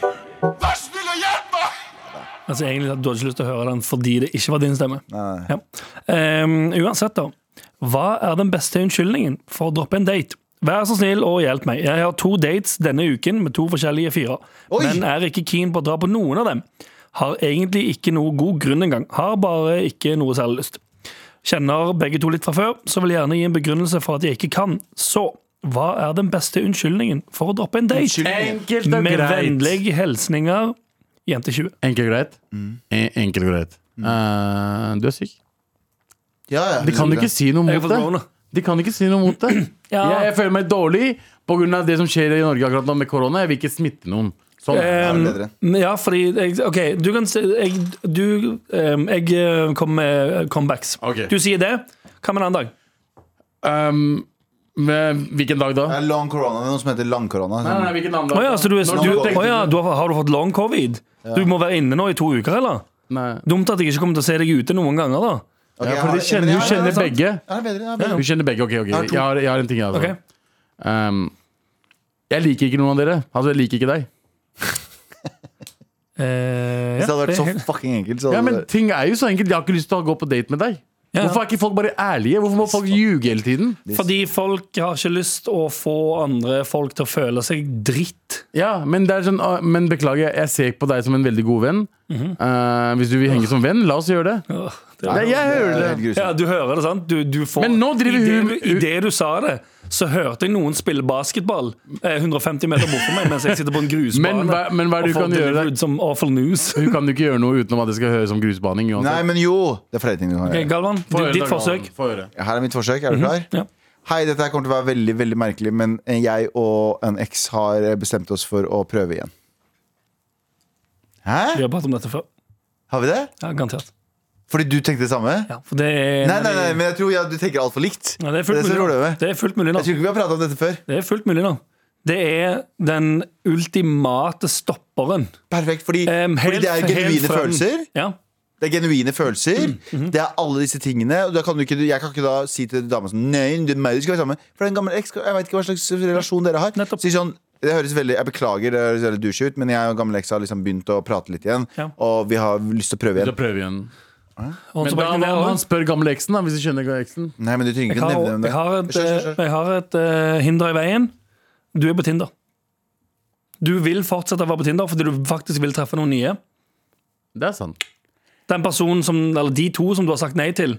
S4: Altså, egentlig, at du hadde ikke lyst til å høre den fordi det ikke var din stemme.
S3: Nei.
S4: Ja. Ehm, uansett, da. Hva er den beste unnskyldningen for å droppe en date? Vær så snill og hjelp meg. Jeg har to dates denne uken med to forskjellige fyrer,
S3: Oi!
S4: men er ikke keen på å dra på noen av dem. Har egentlig ikke noe god grunn engang. Har bare ikke noe særlig lyst. Kjenner begge to litt fra før, så vil jeg gjerne gi en begrunnelse for at jeg ikke kan. Så hva er den beste unnskyldningen for å droppe en date?
S3: Unnskyld.
S2: Enkelt og
S4: Med
S2: greit.
S4: vennlige hilsninger jente 20.
S2: Enkelt og greit.
S3: Mm.
S2: En- Enkelt og greit. Eh, du er syk.
S3: Ja, ja.
S2: De kan jo ikke si noe
S4: Jeg har
S2: mot
S4: fått
S2: det.
S4: korona.
S2: De kan ikke si noe mot det.
S4: Ja.
S2: jeg, jeg føler meg dårlig pga. det som skjer i Norge akkurat nå med korona. Jeg vil ikke smitte noen. Sånn.
S3: det
S4: Um,
S3: bedre.
S4: ja, fordi jeg, OK, du kan si Jeg, du, um, jeg eh, kommer med comebacks.
S2: Ok.
S4: Du sier det. Hva med en annen dag?
S2: Um, men hvilken dag da?
S3: Det er long corona. Det er noe som heter lang corona.
S2: Nei, nei, hvilken annen dag?
S4: Å ja, så du, er,
S2: Når
S4: du,
S2: tenkte
S4: å ja, du har, har du fått long covid? Du må være inne nå i to uker, eller?
S2: Nei.
S4: Dumt at jeg ikke kommer til å se deg ute noen ganger, da.
S3: Ok,
S2: Ja,
S3: jeg
S2: for
S3: har-
S2: de kjenner,
S3: men jeg
S2: hun
S3: har-
S2: kjenner
S3: jeg
S2: begge.
S3: har- jeg har bedre, jeg har bedre.
S2: Hun kjenner begge, ok, ok
S3: har to.
S2: Jeg har, jeg har en ting jeg også
S4: Ok.
S2: Ehm, jeg liker ikke noen av dere. Altså, jeg liker ikke deg.
S4: Eh,
S3: Hvis det hadde
S4: det
S3: vært
S4: er
S3: så
S4: helt-
S3: fucking enkelt, så
S2: Ja,
S3: hadde
S2: men
S3: det
S2: ting er jo så enkelt. Jeg har ikke lyst til å gå på date med deg.
S4: Ja.
S2: Hvorfor er ikke folk bare ærlige? Hvorfor må folk ljuge hele tiden?
S4: Fordi folk har ikke lyst å få andre folk til å føle seg dritt.
S2: Ja, men, det er sånn, ah, men beklager, jeg ser på deg som en veldig god venn.
S4: Mhm.
S2: Eh, hvis du vil henge som venn, la oss gjøre det.
S4: Åh,
S2: Nei, jeg hører
S3: er
S2: det.
S3: helt grusomt.
S4: Ja, du hører det, sant? Du, du får,
S2: Men nå driver
S4: I det
S2: hun-
S4: du- I det du sa det, så hørte jeg noen spille basketball eh, 150 meter bort fra meg mens jeg sitter på en grusbane.
S2: Men hva- men hva er det
S4: og
S2: du
S4: får
S2: kan gjøre?
S4: delivered Som awful news.
S2: Hun kan jo ikke gjøre noe utenom at det skal høres som grusbaning. uansett.
S3: Nei, men jo! Det er flere ting du kan
S4: Ok,
S3: gjøre.
S4: Galvan,
S2: Få høre,
S4: du,
S2: Dag
S4: ditt
S2: Johan.
S4: forsøk.
S2: Få høre.
S3: Her er mitt forsøk. Er du klar?
S4: Ja.
S3: Hei, dette her kommer til å være veldig veldig merkelig, men jeg og en eks har bestemt oss for å prøve igjen.
S4: Vi
S3: Hæ?
S4: har pratet om dette før.
S3: Har vi det?
S4: Ja, garantert.
S3: Fordi du tenkte det samme?
S4: Ja, for det er
S3: Nei, nei, nei, men jeg tror ja, du tenker altfor likt.
S4: Ja, det er fullt
S3: det som
S4: mulig
S3: er
S4: nå.
S3: problemet.
S4: Det er fullt mulig nå.
S3: Jeg tror ikke vi har pratet om dette før.
S4: Det er fullt mulig nå. Det er den ultimate stopperen.
S3: Perfekt, fordi,
S4: Em,
S3: fordi det er
S4: helt
S3: genuine
S4: fra den-
S3: følelser.
S4: Ja.
S3: Det er genuine følelser Det er alle disse tingene. Og da kan du ikke, jeg kan ikke da si til dama sånn Nei, du meg, du skal være sammen. For det er en gammel eks. Jeg vet ikke hva slags relasjon dere har.
S4: Nettopp.
S3: Si sånn det høres veldig, Jeg beklager, det høres veldig douche ut, men jeg og en gammel eks har liksom begynt å prate litt igjen.
S4: Ja.
S3: Og vi har lyst til å prøve
S2: Vi skal
S3: igjen.
S2: prøve igjen.
S4: Og
S2: Men
S4: så
S2: da,
S4: bare-
S2: han, han spør gamle eksen, da, hvis du skjønner eksen.
S3: Nei, men du trenger
S4: Jeg
S3: ikke å
S4: har,
S3: nevne det.
S4: jeg har et,
S3: Skjønner, skjønner, skjønner.
S4: jeg har et eh, hinder i veien. Du er på Tinder. Du vil fortsette å være på Tinder fordi du faktisk vil treffe noen nye.
S2: Det er sant.
S4: Den personen som, eller De to som du har sagt nei til,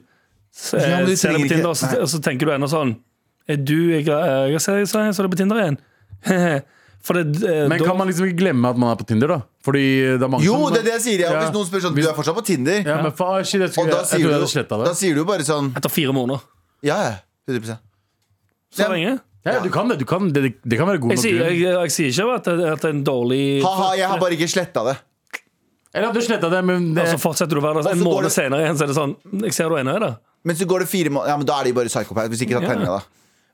S4: s- eh,
S3: Ja, men du
S4: ser
S3: trenger
S4: deg på Tinder,
S3: ikke-
S4: og så,
S3: nei.
S4: og så tenker du ennå sånn Er du Jeg, jeg, jeg, ser- jeg, ser- jeg så deg på Tinder igjen. For det, eh,
S2: Men
S4: da-
S2: kan man liksom ikke glemme at man er på Tinder, da? Fordi det er mange
S3: Jo,
S2: som
S3: det er det jeg sier. Ja.
S2: Ja.
S3: Hvis noen spør sånn Du er fortsatt på Tinder?
S2: Ja, men faen, ah, shit, jeg,
S3: Og
S2: skulle,
S3: da
S2: jeg, jeg tror
S3: sier,
S2: jeg
S3: du,
S2: hadde sletta
S3: da
S2: det.
S3: sier du jo bare sånn
S4: Etter fire måneder.
S3: Ja, ja. 100
S4: Så
S3: Ja.
S4: lenge.
S2: Ja, du kan det. Du kan, det, det kan være god
S4: Jeg
S2: nok
S4: sier,
S2: grunn.
S4: jeg, jeg sier ikke at det, at det er en dårlig
S3: Ha-ha, jeg har bare ikke sletta det.
S2: Eller at du sletta det, men det,
S4: Og
S3: Altså,
S4: så fortsetter du å
S3: Og
S4: være der.
S3: så
S4: En
S3: går
S4: måned
S3: det-
S4: senere igjen så er det sånn Jeg ser du ennå er der.
S3: Men så går det fire måneder Ja, men da er de bare psykopat hvis de ikke tar
S4: Ja.
S3: tegninga, da.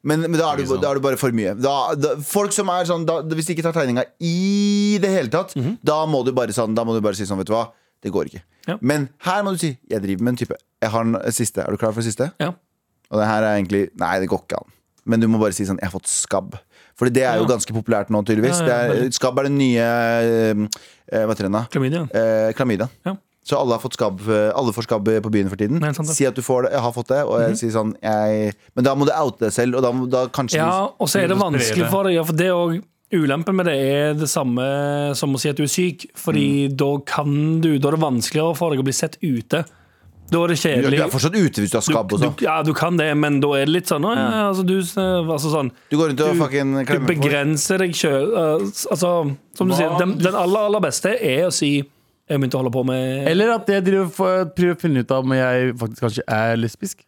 S3: Men, men da, er du, da er du bare for mye. Da, da, folk som er sånn da, Hvis de ikke tar tegninga i det hele tatt, da, må du bare sånn, da må du bare si sånn, vet du hva, det går ikke.
S4: Mhm. Ja.
S3: Men her må du si Jeg driver med en type. Jeg har en siste. Er du klar for siste?
S4: Ja.
S3: Og det her er egentlig Nei, det går ikke an. Men du må bare si sånn Jeg har fått skabb. Fordi det er jo
S4: Ja.
S3: ganske populært nå, tydeligvis.
S4: Ja, ja,
S3: det er,
S4: veldig.
S3: skabb er den nye eh, eh, Hva heter den, da?
S4: Klamydia.
S3: Eh, klamydia.
S4: Ja.
S3: Så alle, har fått skabb, eh, alle får skabb på byen for tiden.
S4: Nei, sant det. Mhm.
S3: si at du får det, jeg har fått det, og jeg sier sånn jeg, Men da må du oute deg selv, og da, må- da kanskje
S4: Ja,
S3: du-
S4: og så er det
S2: Spre det.
S4: vanskelig for deg. Ja, for det er også- Ulempen med det er det samme som å si at du er syk. Fordi da kan du Da er det vanskeligere for deg å bli sett ute. Da er det
S3: du,
S4: kjedelig.
S3: er fortsatt ute hvis du har skabb og
S4: du,
S3: sånn.
S4: du, ja, du kan det, men da er det litt sånn, «Å, ja, altså, du, altså, sånn
S3: Du går rundt og fucking
S4: Du
S3: klemmer på folk.
S4: begrenser deg sjøl. altså, som du sier, den, den aller, aller beste er å si Jeg begynte å holde på med
S2: Eller at jeg driver for- prøver å finne ut av om jeg faktisk kanskje er lesbisk.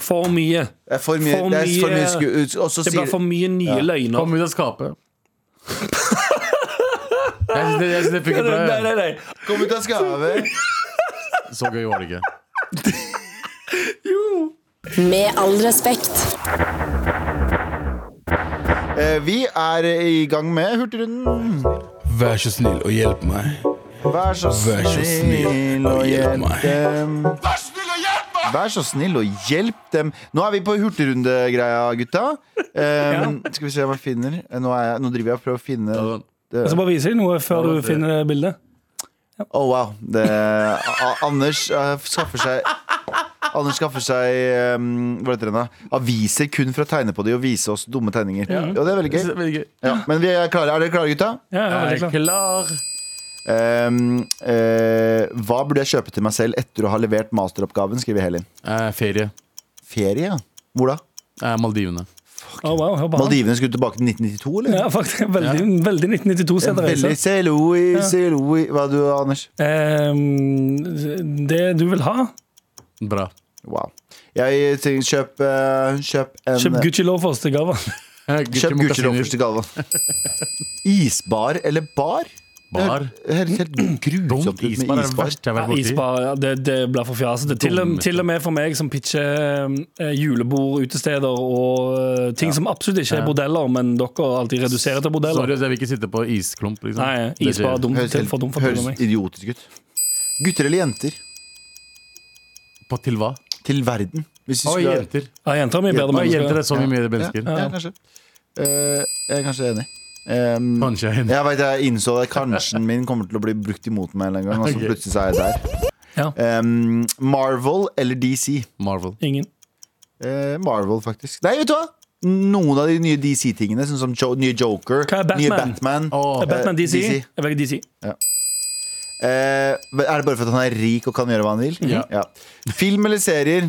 S4: for mye.
S3: Det er for mye,
S4: for
S3: det er for mye
S4: mye-
S3: sku, og så
S4: Det blir
S3: sier
S4: for mye nye løgner.
S2: Kom ut av skapet. Jeg synes det, jeg synes det funker bra.
S4: Nei,
S2: jeg.
S4: nei, nei.
S3: Kom ut av skapet!
S2: Så gøy var det ikke.
S5: Med all respekt.
S3: Eh, vi er i gang med Hurtigrunden.
S6: Vær så snill og hjelp meg.
S3: Vær så
S6: Vær så
S3: snill og hjelp
S6: meg.
S3: dem. Vær så snill og hjelp dem. Nå er vi på hurtigrundegreia, gutta. Um, skal vi se hva jeg finner. Eh, Nå, er jeg, nå driver jeg og prøver å finne
S2: Ja, da.
S4: Jeg skal bare vise deg noe før du finner det bildet.
S3: Oh, wow. Det, A A- Anders eh, skaffer seg Anders skaffer seg um, hva heter det da? aviser kun for å tegne på de og vise oss dumme tegninger. Ja. Og det er veldig
S2: Jeg synes det
S3: gøy.
S2: er veldig gøy.
S3: Ja, men vi er klare. Er dere klare, gutta?
S4: Ja, ja,
S2: Jeg
S4: veldig
S2: er
S4: klart.
S2: klar.
S3: Um, eh, hva burde jeg kjøpe til meg selv etter å ha levert masteroppgaven? Skriver Helin.
S2: Eh, ferie.
S3: Ferie, ja. Hvor da?
S2: Eh, Maldivene.
S4: Å, wow, hør bare.
S3: Maldivene skulle tilbake til 1992, eller?
S4: Ja, faktisk. Veldig, veldig 1992
S3: Ja,
S4: sett reise.
S3: Veldig se Louis, se Louis Hva er du, Anders?
S4: Ehm, det du vil ha
S2: Bra.
S3: Wow. Jeg tenker kjøp, eh, kjøp en
S4: Kjøp Gucci Loafers til gave.
S2: Eh,
S3: Kjøp Gucci
S2: mokkasiner.
S3: Loffers til Galvan. Isbar eller bar?
S2: Bar.
S3: Det høres helt grusomt
S2: Dumt
S3: ut
S2: isbar
S3: med
S2: er det
S3: isbar.
S2: verste jeg har vært borti.
S4: Isbar, ja, det, det blir for fjasete. Til, og- til og med for meg som pitcher eh, julebord, utesteder og eh, ting som absolutt ikke er bordeller, men dere alltid reduserer til bordeller.
S2: Sorry, ass, jeg vil ikke sitte på isklump. Liksom.
S4: Nei,
S2: Det
S4: isbar
S2: skjer.
S4: er dumt.
S3: Høres,
S4: til- for dumt
S3: helt,
S4: for til og
S3: høres
S4: med.
S3: idiotisk ut. Gutter eller jenter?
S2: På til hva?
S3: Til verden. Hvis vi
S2: Og
S3: skulle-
S2: jenter.
S4: Ja, jenter er mye bedre
S2: Og jenter
S4: mennesker.
S2: er så mye mer
S3: Ja,
S2: mennesker.
S3: ja, kanskje. Eh, jeg er kanskje enig. Um,
S2: Kanskje jeg er enig.
S3: Jeg vet, jeg innså at kanskje-en min kommer til å bli brukt imot meg en eller annen gang. Og så
S2: Ok.
S3: plutselig så er jeg der.
S4: Ja.
S3: Um, Marvel eller DC?
S2: Marvel.
S4: Ingen.
S3: Eh, Marvel, faktisk. Nei, vet du hva? Noen av de nye DC-tingene, sånn som jo nye Joker,
S4: Hva er Batman?
S3: nye Batman.
S2: Åh,
S4: Er Batman
S3: Eh,
S4: DC?
S3: DC.
S4: Jeg velger DC.
S3: Eh, er det bare for at han er rik og kan gjøre hva han vil?
S2: Ja.
S3: Film eller serier?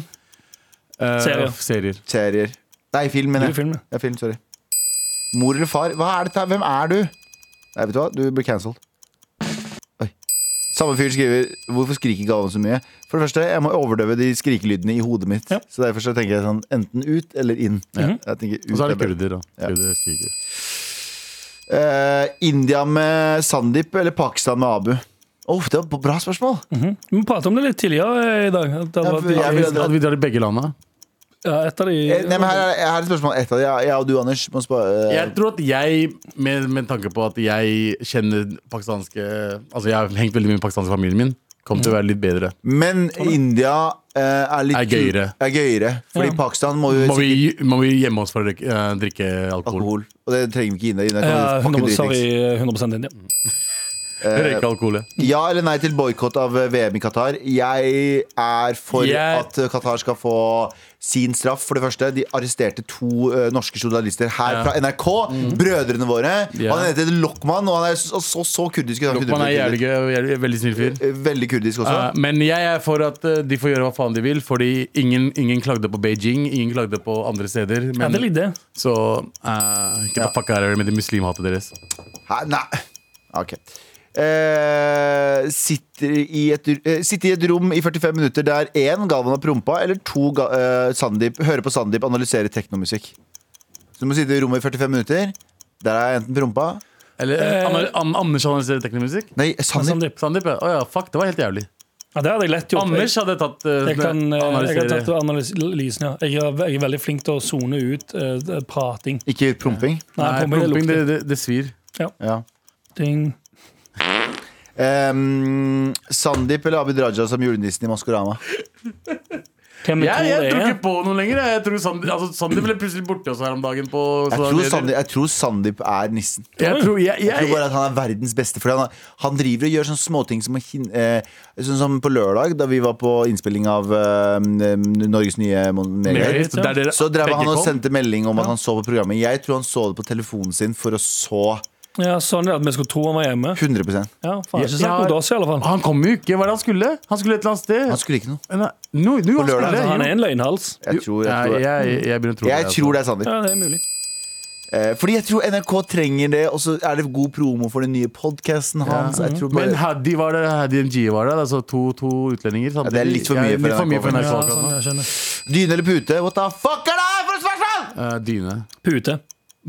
S2: eh,
S4: Serier.
S2: serier.
S3: Serier. Nei, film, mener
S4: Du
S3: jeg.
S4: filmer.
S3: Ja, film, sorry. Mor eller far? Hva er dette? her? Hvem er du? Nei, vet du hva? Du blir cancelled. Oi. Samme fyr skriver Hvorfor skriker Galvan så mye? For det første, jeg må overdøve de skrikelydene i hodet mitt.
S4: Ja.
S3: Så derfor så tenker jeg sånn enten ut eller inn.
S4: Mhm.
S3: Jeg tenker ut
S2: Og så er
S3: er
S2: det
S3: bedre.
S2: kurder. da.
S3: Ja.
S2: Kurder skriker.
S3: Eh, India med Sandeep eller Pakistan med Abu? Oh, det var bra spørsmål!
S4: Mhm. Vi pratet om det litt tidligere eh, i dag. at Det hadde
S3: Ja, for jeg
S4: vært,
S3: vil-
S2: Hadde vi dratt i begge landa?
S4: ja, et av de
S3: Eh, Nei, men her er, her er et spørsmål. Ett av de. Jeg og du, Anders. Må spa- eh,
S2: Jeg tror at jeg, med, med tanke på at jeg kjenner pakistanske Altså jeg har hengt veldig mye med pakistanske familien min, kommer til å være litt bedre.
S3: Men India eh, er litt
S2: Er gøyere.
S3: Er gøyere fordi
S4: Ja.
S3: Pakistan må jo
S2: Må vi, må vi gjemme oss for å drikke, eh, drikke alkohol?
S3: alkohol. Og det trenger vi ikke India. India kan
S4: Ja,
S3: jo fucking
S4: 100, sorry,
S3: dritings.
S4: 100 India.
S2: Eh, Røyke alkohol, ja.
S3: Ja eller nei til boikott av eh, VM i Qatar? Jeg er for
S2: Jeg-
S3: at eh, Qatar skal få sin straff, for det første. De arresterte to eh, norske journalister her
S2: Ja. Mm.
S3: fra NRK. Brødrene våre.
S2: Ja.
S3: Han heter Lokman, og han er så, så, så kurdisk. ut. Han kunne
S2: Man er jævlig
S3: blitt kurder.
S2: gøy og jævlig- veldig snill fyr.
S3: Eh, Veldig kurdisk også.
S2: Eh, men jeg er for at eh, de får gjøre hva faen de vil, fordi ingen, ingen klagde på Beijing. Ingen klagde på andre steder.
S4: Ja,
S2: Men,
S4: det er litt det.
S2: så eh, ikke ta fuck out of it med det muslimhatet deres.
S3: Hæ? Nei. Ok. Eh, sitter, i et, eh, sitter i et rom i 45 minutter der én Galvan har prompa, eller to ga, eh, Sandeep, hører på Sandeep analysere teknomusikk. Så du må sitte i rommet i 45 minutter. Der er jeg enten prompa
S2: Eller eh, Ander- An Anders analyserer teknomusikk?
S3: Nei, Sandeep.
S4: Sandeep.
S2: Sandeep, ja. Å ja, fuck, det var helt jævlig.
S4: Ja, det hadde jeg lett gjort.
S2: Anders hadde tatt eh,
S4: Jeg, kan, eh, jeg har
S2: analysere-
S4: tatt analysen, ja. Jeg er, jeg er veldig flink til å sone ut eh, prating.
S3: Ikke promping.
S4: Nei,
S2: Nei,
S4: pumping, det
S2: pumping, det,
S4: lukter.
S2: det, det svir.
S3: Ja.
S4: Ding.
S3: Eh, Sandeep eller Abid Raja som julenissen i Maskorama?
S4: Hvem vi
S2: Jeg, jeg
S4: tror
S2: tror
S4: det
S2: ikke
S4: er.
S2: på noen lenger. jeg. Jeg tror Sandeep altså, Sandeep ble plutselig borte også her om dagen. På
S3: Jeg
S2: sosiale
S3: tror
S2: medier.
S3: Sandeep, jeg tror Sandeep er nissen.
S2: Jeg tror, jeg,
S3: Jeg tror
S2: jeg,
S3: bare at han er verdens beste. Fordi han, han driver og gjør sånne småting som, å hin- eh, sånn som på lørdag, da vi var på innspilling av eh, Norges nye mon-
S2: Merit,
S3: Megahit.
S2: der dere
S3: Så drev
S2: begge
S3: han og
S2: kom.
S3: sendte melding om at han så på programmet. Jeg tror han så det på telefonen sin for å så
S4: Ja, sånn er det at vi skulle tro han var hjemme.
S3: 100 Han
S4: Ja, faen,
S2: Jeg-
S4: ikke snakk
S2: jeg-
S4: mot oss, i alle fall.
S2: Han kom jo ikke. Hva er det han skulle? Han skulle et eller annet sted.
S3: skulle ikke noe.
S2: Nei, nå- nå, han
S3: lørdag.
S2: skulle,
S4: Altså, han
S2: jo.
S4: er en løgnhals.
S3: Jeg tror, jeg
S2: Nei,
S3: tror, jeg,
S2: jeg, jeg begynner å tro det. altså.
S3: tror det er Sandeep.
S4: Ja, det er mulig.
S3: Eh, fordi jeg tror NRK trenger det, og så er det god promo for den nye podkasten hans. Jeg tror
S2: Men
S3: bare,
S2: Haddy var det, Haddy MG var det. Altså to, to utlendinger. samtidig.
S3: det er litt for
S2: Ja,
S3: mye for
S2: litt for mye
S3: NRK.
S2: for
S4: Ja,
S2: NRK. akkurat
S4: sånn,
S2: nå.
S4: jeg skjønner.
S3: dyne eller pute? What the fuck er det her for et spørsmål?!
S2: Eh, dyne.
S4: Pute.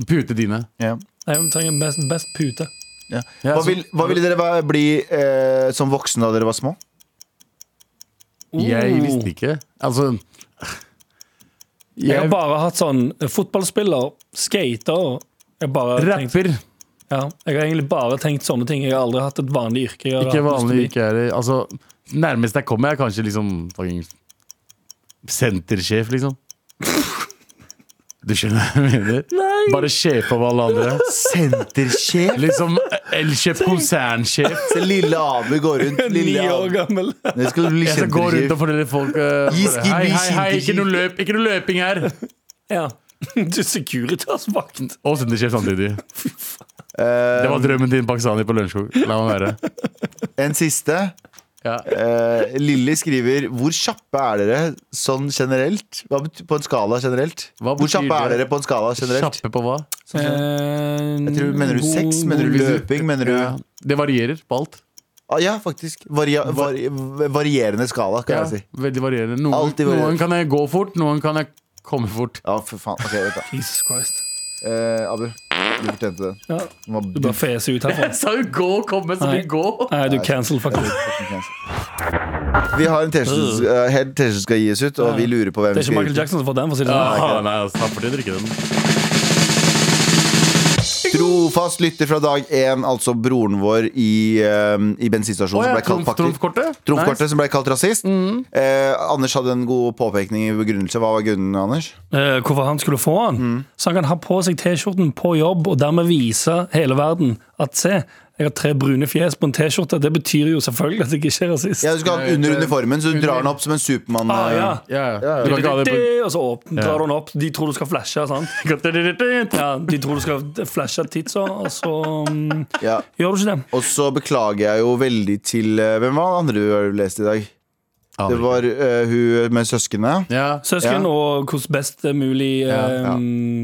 S2: Putedyne.
S3: Ja.
S4: Nei, vi trenger best, best pute.
S3: Ja.
S2: Ja,
S3: Hva,
S2: så-
S3: vil, hva ville dere va- bli eh, som voksne da dere var små?
S4: Oh.
S2: Jeg visste ikke. Altså
S4: Jeg har
S2: jeg,
S4: bare hatt sånn eh, fotballspiller, skater jeg har bare tenkt,
S2: Rapper.
S4: ja, Jeg har egentlig bare tenkt sånne ting. Jeg har aldri hatt et vanlig yrke. Jeg
S2: Ikke
S4: har hatt lyst til å
S2: vanlig
S4: bli.
S2: ikke er det. Altså, nærmest jeg kommer, er kanskje liksom fucking sentersjef, liksom. Du skjønner hva jeg mener? Bare sjef over alle andre.
S3: Sentersjef?
S2: Liksom Elkjøp konsernsjef.
S3: Se, lille Abu går rundt. Lille
S4: Ni år
S3: Abu.
S4: gammel.
S3: Nå skal du bli
S2: Jeg skal gå rundt og fortelle
S3: sentersjef.
S2: folk eh,
S3: Gi skibby
S2: Hei, hei, hei, ikke
S3: sentersjef.
S2: noe, løp, ikke noe løping her!
S4: Ja. Eh, Du Securitas-vakt.
S2: Og sentersjef samtidig.
S3: Eh,
S2: Det var drømmen til en pakistaner på Lørenskog. La meg være.
S3: En siste.
S2: Ja.
S3: Eh, Lilly skriver Hvor kjappe er dere sånn generelt? Hva betyr, på en skala generelt?
S2: Hva
S3: Hvor
S2: betyr
S3: kjappe er
S2: det?
S3: dere på en skala generelt?
S2: Kjappe på hva?
S3: Jeg tror, mener du sex? Mener du løping? Mener du
S2: Ja. Det varierer på alt.
S3: ah, Ja, faktisk. Varia, vari, varierende skala, kan
S2: Ja,
S3: jeg si.
S2: veldig varierende. Noen,
S3: Alltid varierende.
S2: noen kan jeg gå fort, noen kan jeg komme fort.
S3: Ja, Ah, for faen. Ok, vent, da.
S4: Jesus Christ.
S3: Eh, Abu, du fortjente den.
S4: Ja,
S3: Den var
S4: du bare feser ut herfra.
S2: Jeg sa jo gå og komme, så
S4: Nei.
S2: vi gå.
S4: Nei, du cancel faktisk.
S3: Vi har en T-skjorte eh, helt T-skjorte som skal gis ut, og vi lurer på hvem
S4: Mm.
S3: vi
S4: Det er ikke
S3: skal gi
S4: Michael
S3: ut.
S4: Jackson som får den, for å si det sånn.
S2: nei, altså, han får til å drikke den.
S3: Trofast lytter fra dag én, altså broren vår i, eh, i bensinstasjonen som ble kalt
S2: Trumf-
S3: pakker.
S2: Trumfkortet?
S3: Trumfkortet som ble kalt rasist.
S4: Mm.
S3: Eh, Anders hadde en god påpekning i begrunnelse. Hva var grunnen, Anders?
S4: eh, hvorfor han skulle få han.
S3: Mm.
S4: Så han kan ha på seg T-skjorten på jobb og dermed vise hele verden at se, jeg har tre brune fjes på en T-skjorte. Det betyr jo selvfølgelig at jeg ikke er rasist.
S3: Ja, du skal ha den under uniformen, så du drar den opp som en Supermann.
S4: Ah, ja.
S3: eh,
S2: Ja, ja. Du kan ikke ha det på
S4: Og så åpner- drar hun opp. De tror du skal flashe. sant? Ja, De tror du skal flashe titsa, og så mm,
S3: ja.
S4: gjør du ikke det.
S3: Og så beklager jeg jo veldig til eh, Hvem var den andre du har lest i dag? Det var eh, hun med søsknene.
S2: ja.
S4: Søsken,
S3: Ja.
S4: og hvordan best mulig eh,
S2: Ja,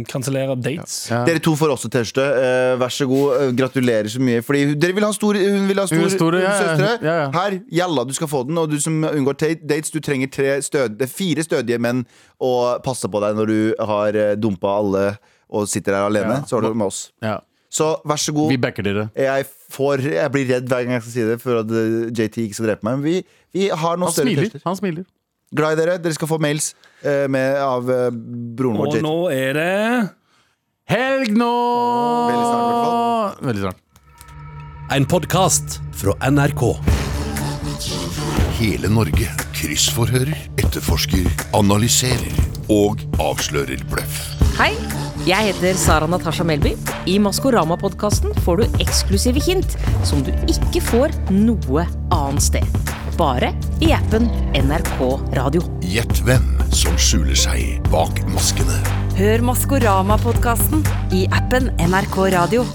S4: kansellere dates.
S2: Ja.
S3: Dere to får også T-skjorte. Eh, vær så god. Eh, gratulerer så mye. Fordi hun- dere vil ha stor, hun vil ha stor,
S2: Hun er store, ja, ja.
S3: søstre.
S2: Ja, ja.
S3: Her, jalla, du skal få den. Og du som unngår ta- dates, du trenger tre stød, det er fire stødige menn å passe på deg når du har eh, dumpa alle og sitter her alene.
S2: Ja.
S3: Så har du med oss.
S2: ja.
S3: Så vær så god.
S2: Vi backer dere.
S3: Jeg, får, jeg blir redd hver gang jeg skal si det, for at eh, JT ikke skal drepe meg. Men vi, vi har noen
S2: Han
S3: større
S2: smiler.
S3: T-skjorter.
S2: Han smiler.
S3: Glad i dere. Dere skal få mails eh, med, av eh, broren
S4: Og
S3: vår, JT.
S4: nå er det
S2: Helg nå!
S3: Veldig snart, i hvert fall.
S2: Veldig snart.
S7: En podkast fra NRK.
S8: Hele Norge kryssforhører, etterforsker, analyserer og avslører bløff.
S9: Hei, jeg heter Sara Natasha Melby. I Maskorama-podkasten får du eksklusive hint som du ikke får noe annet sted. Bare i appen NRK Radio.
S8: Gjett hvem som skjuler seg bak maskene.
S1: Hør Maskorama-podkasten i appen NRK Radio.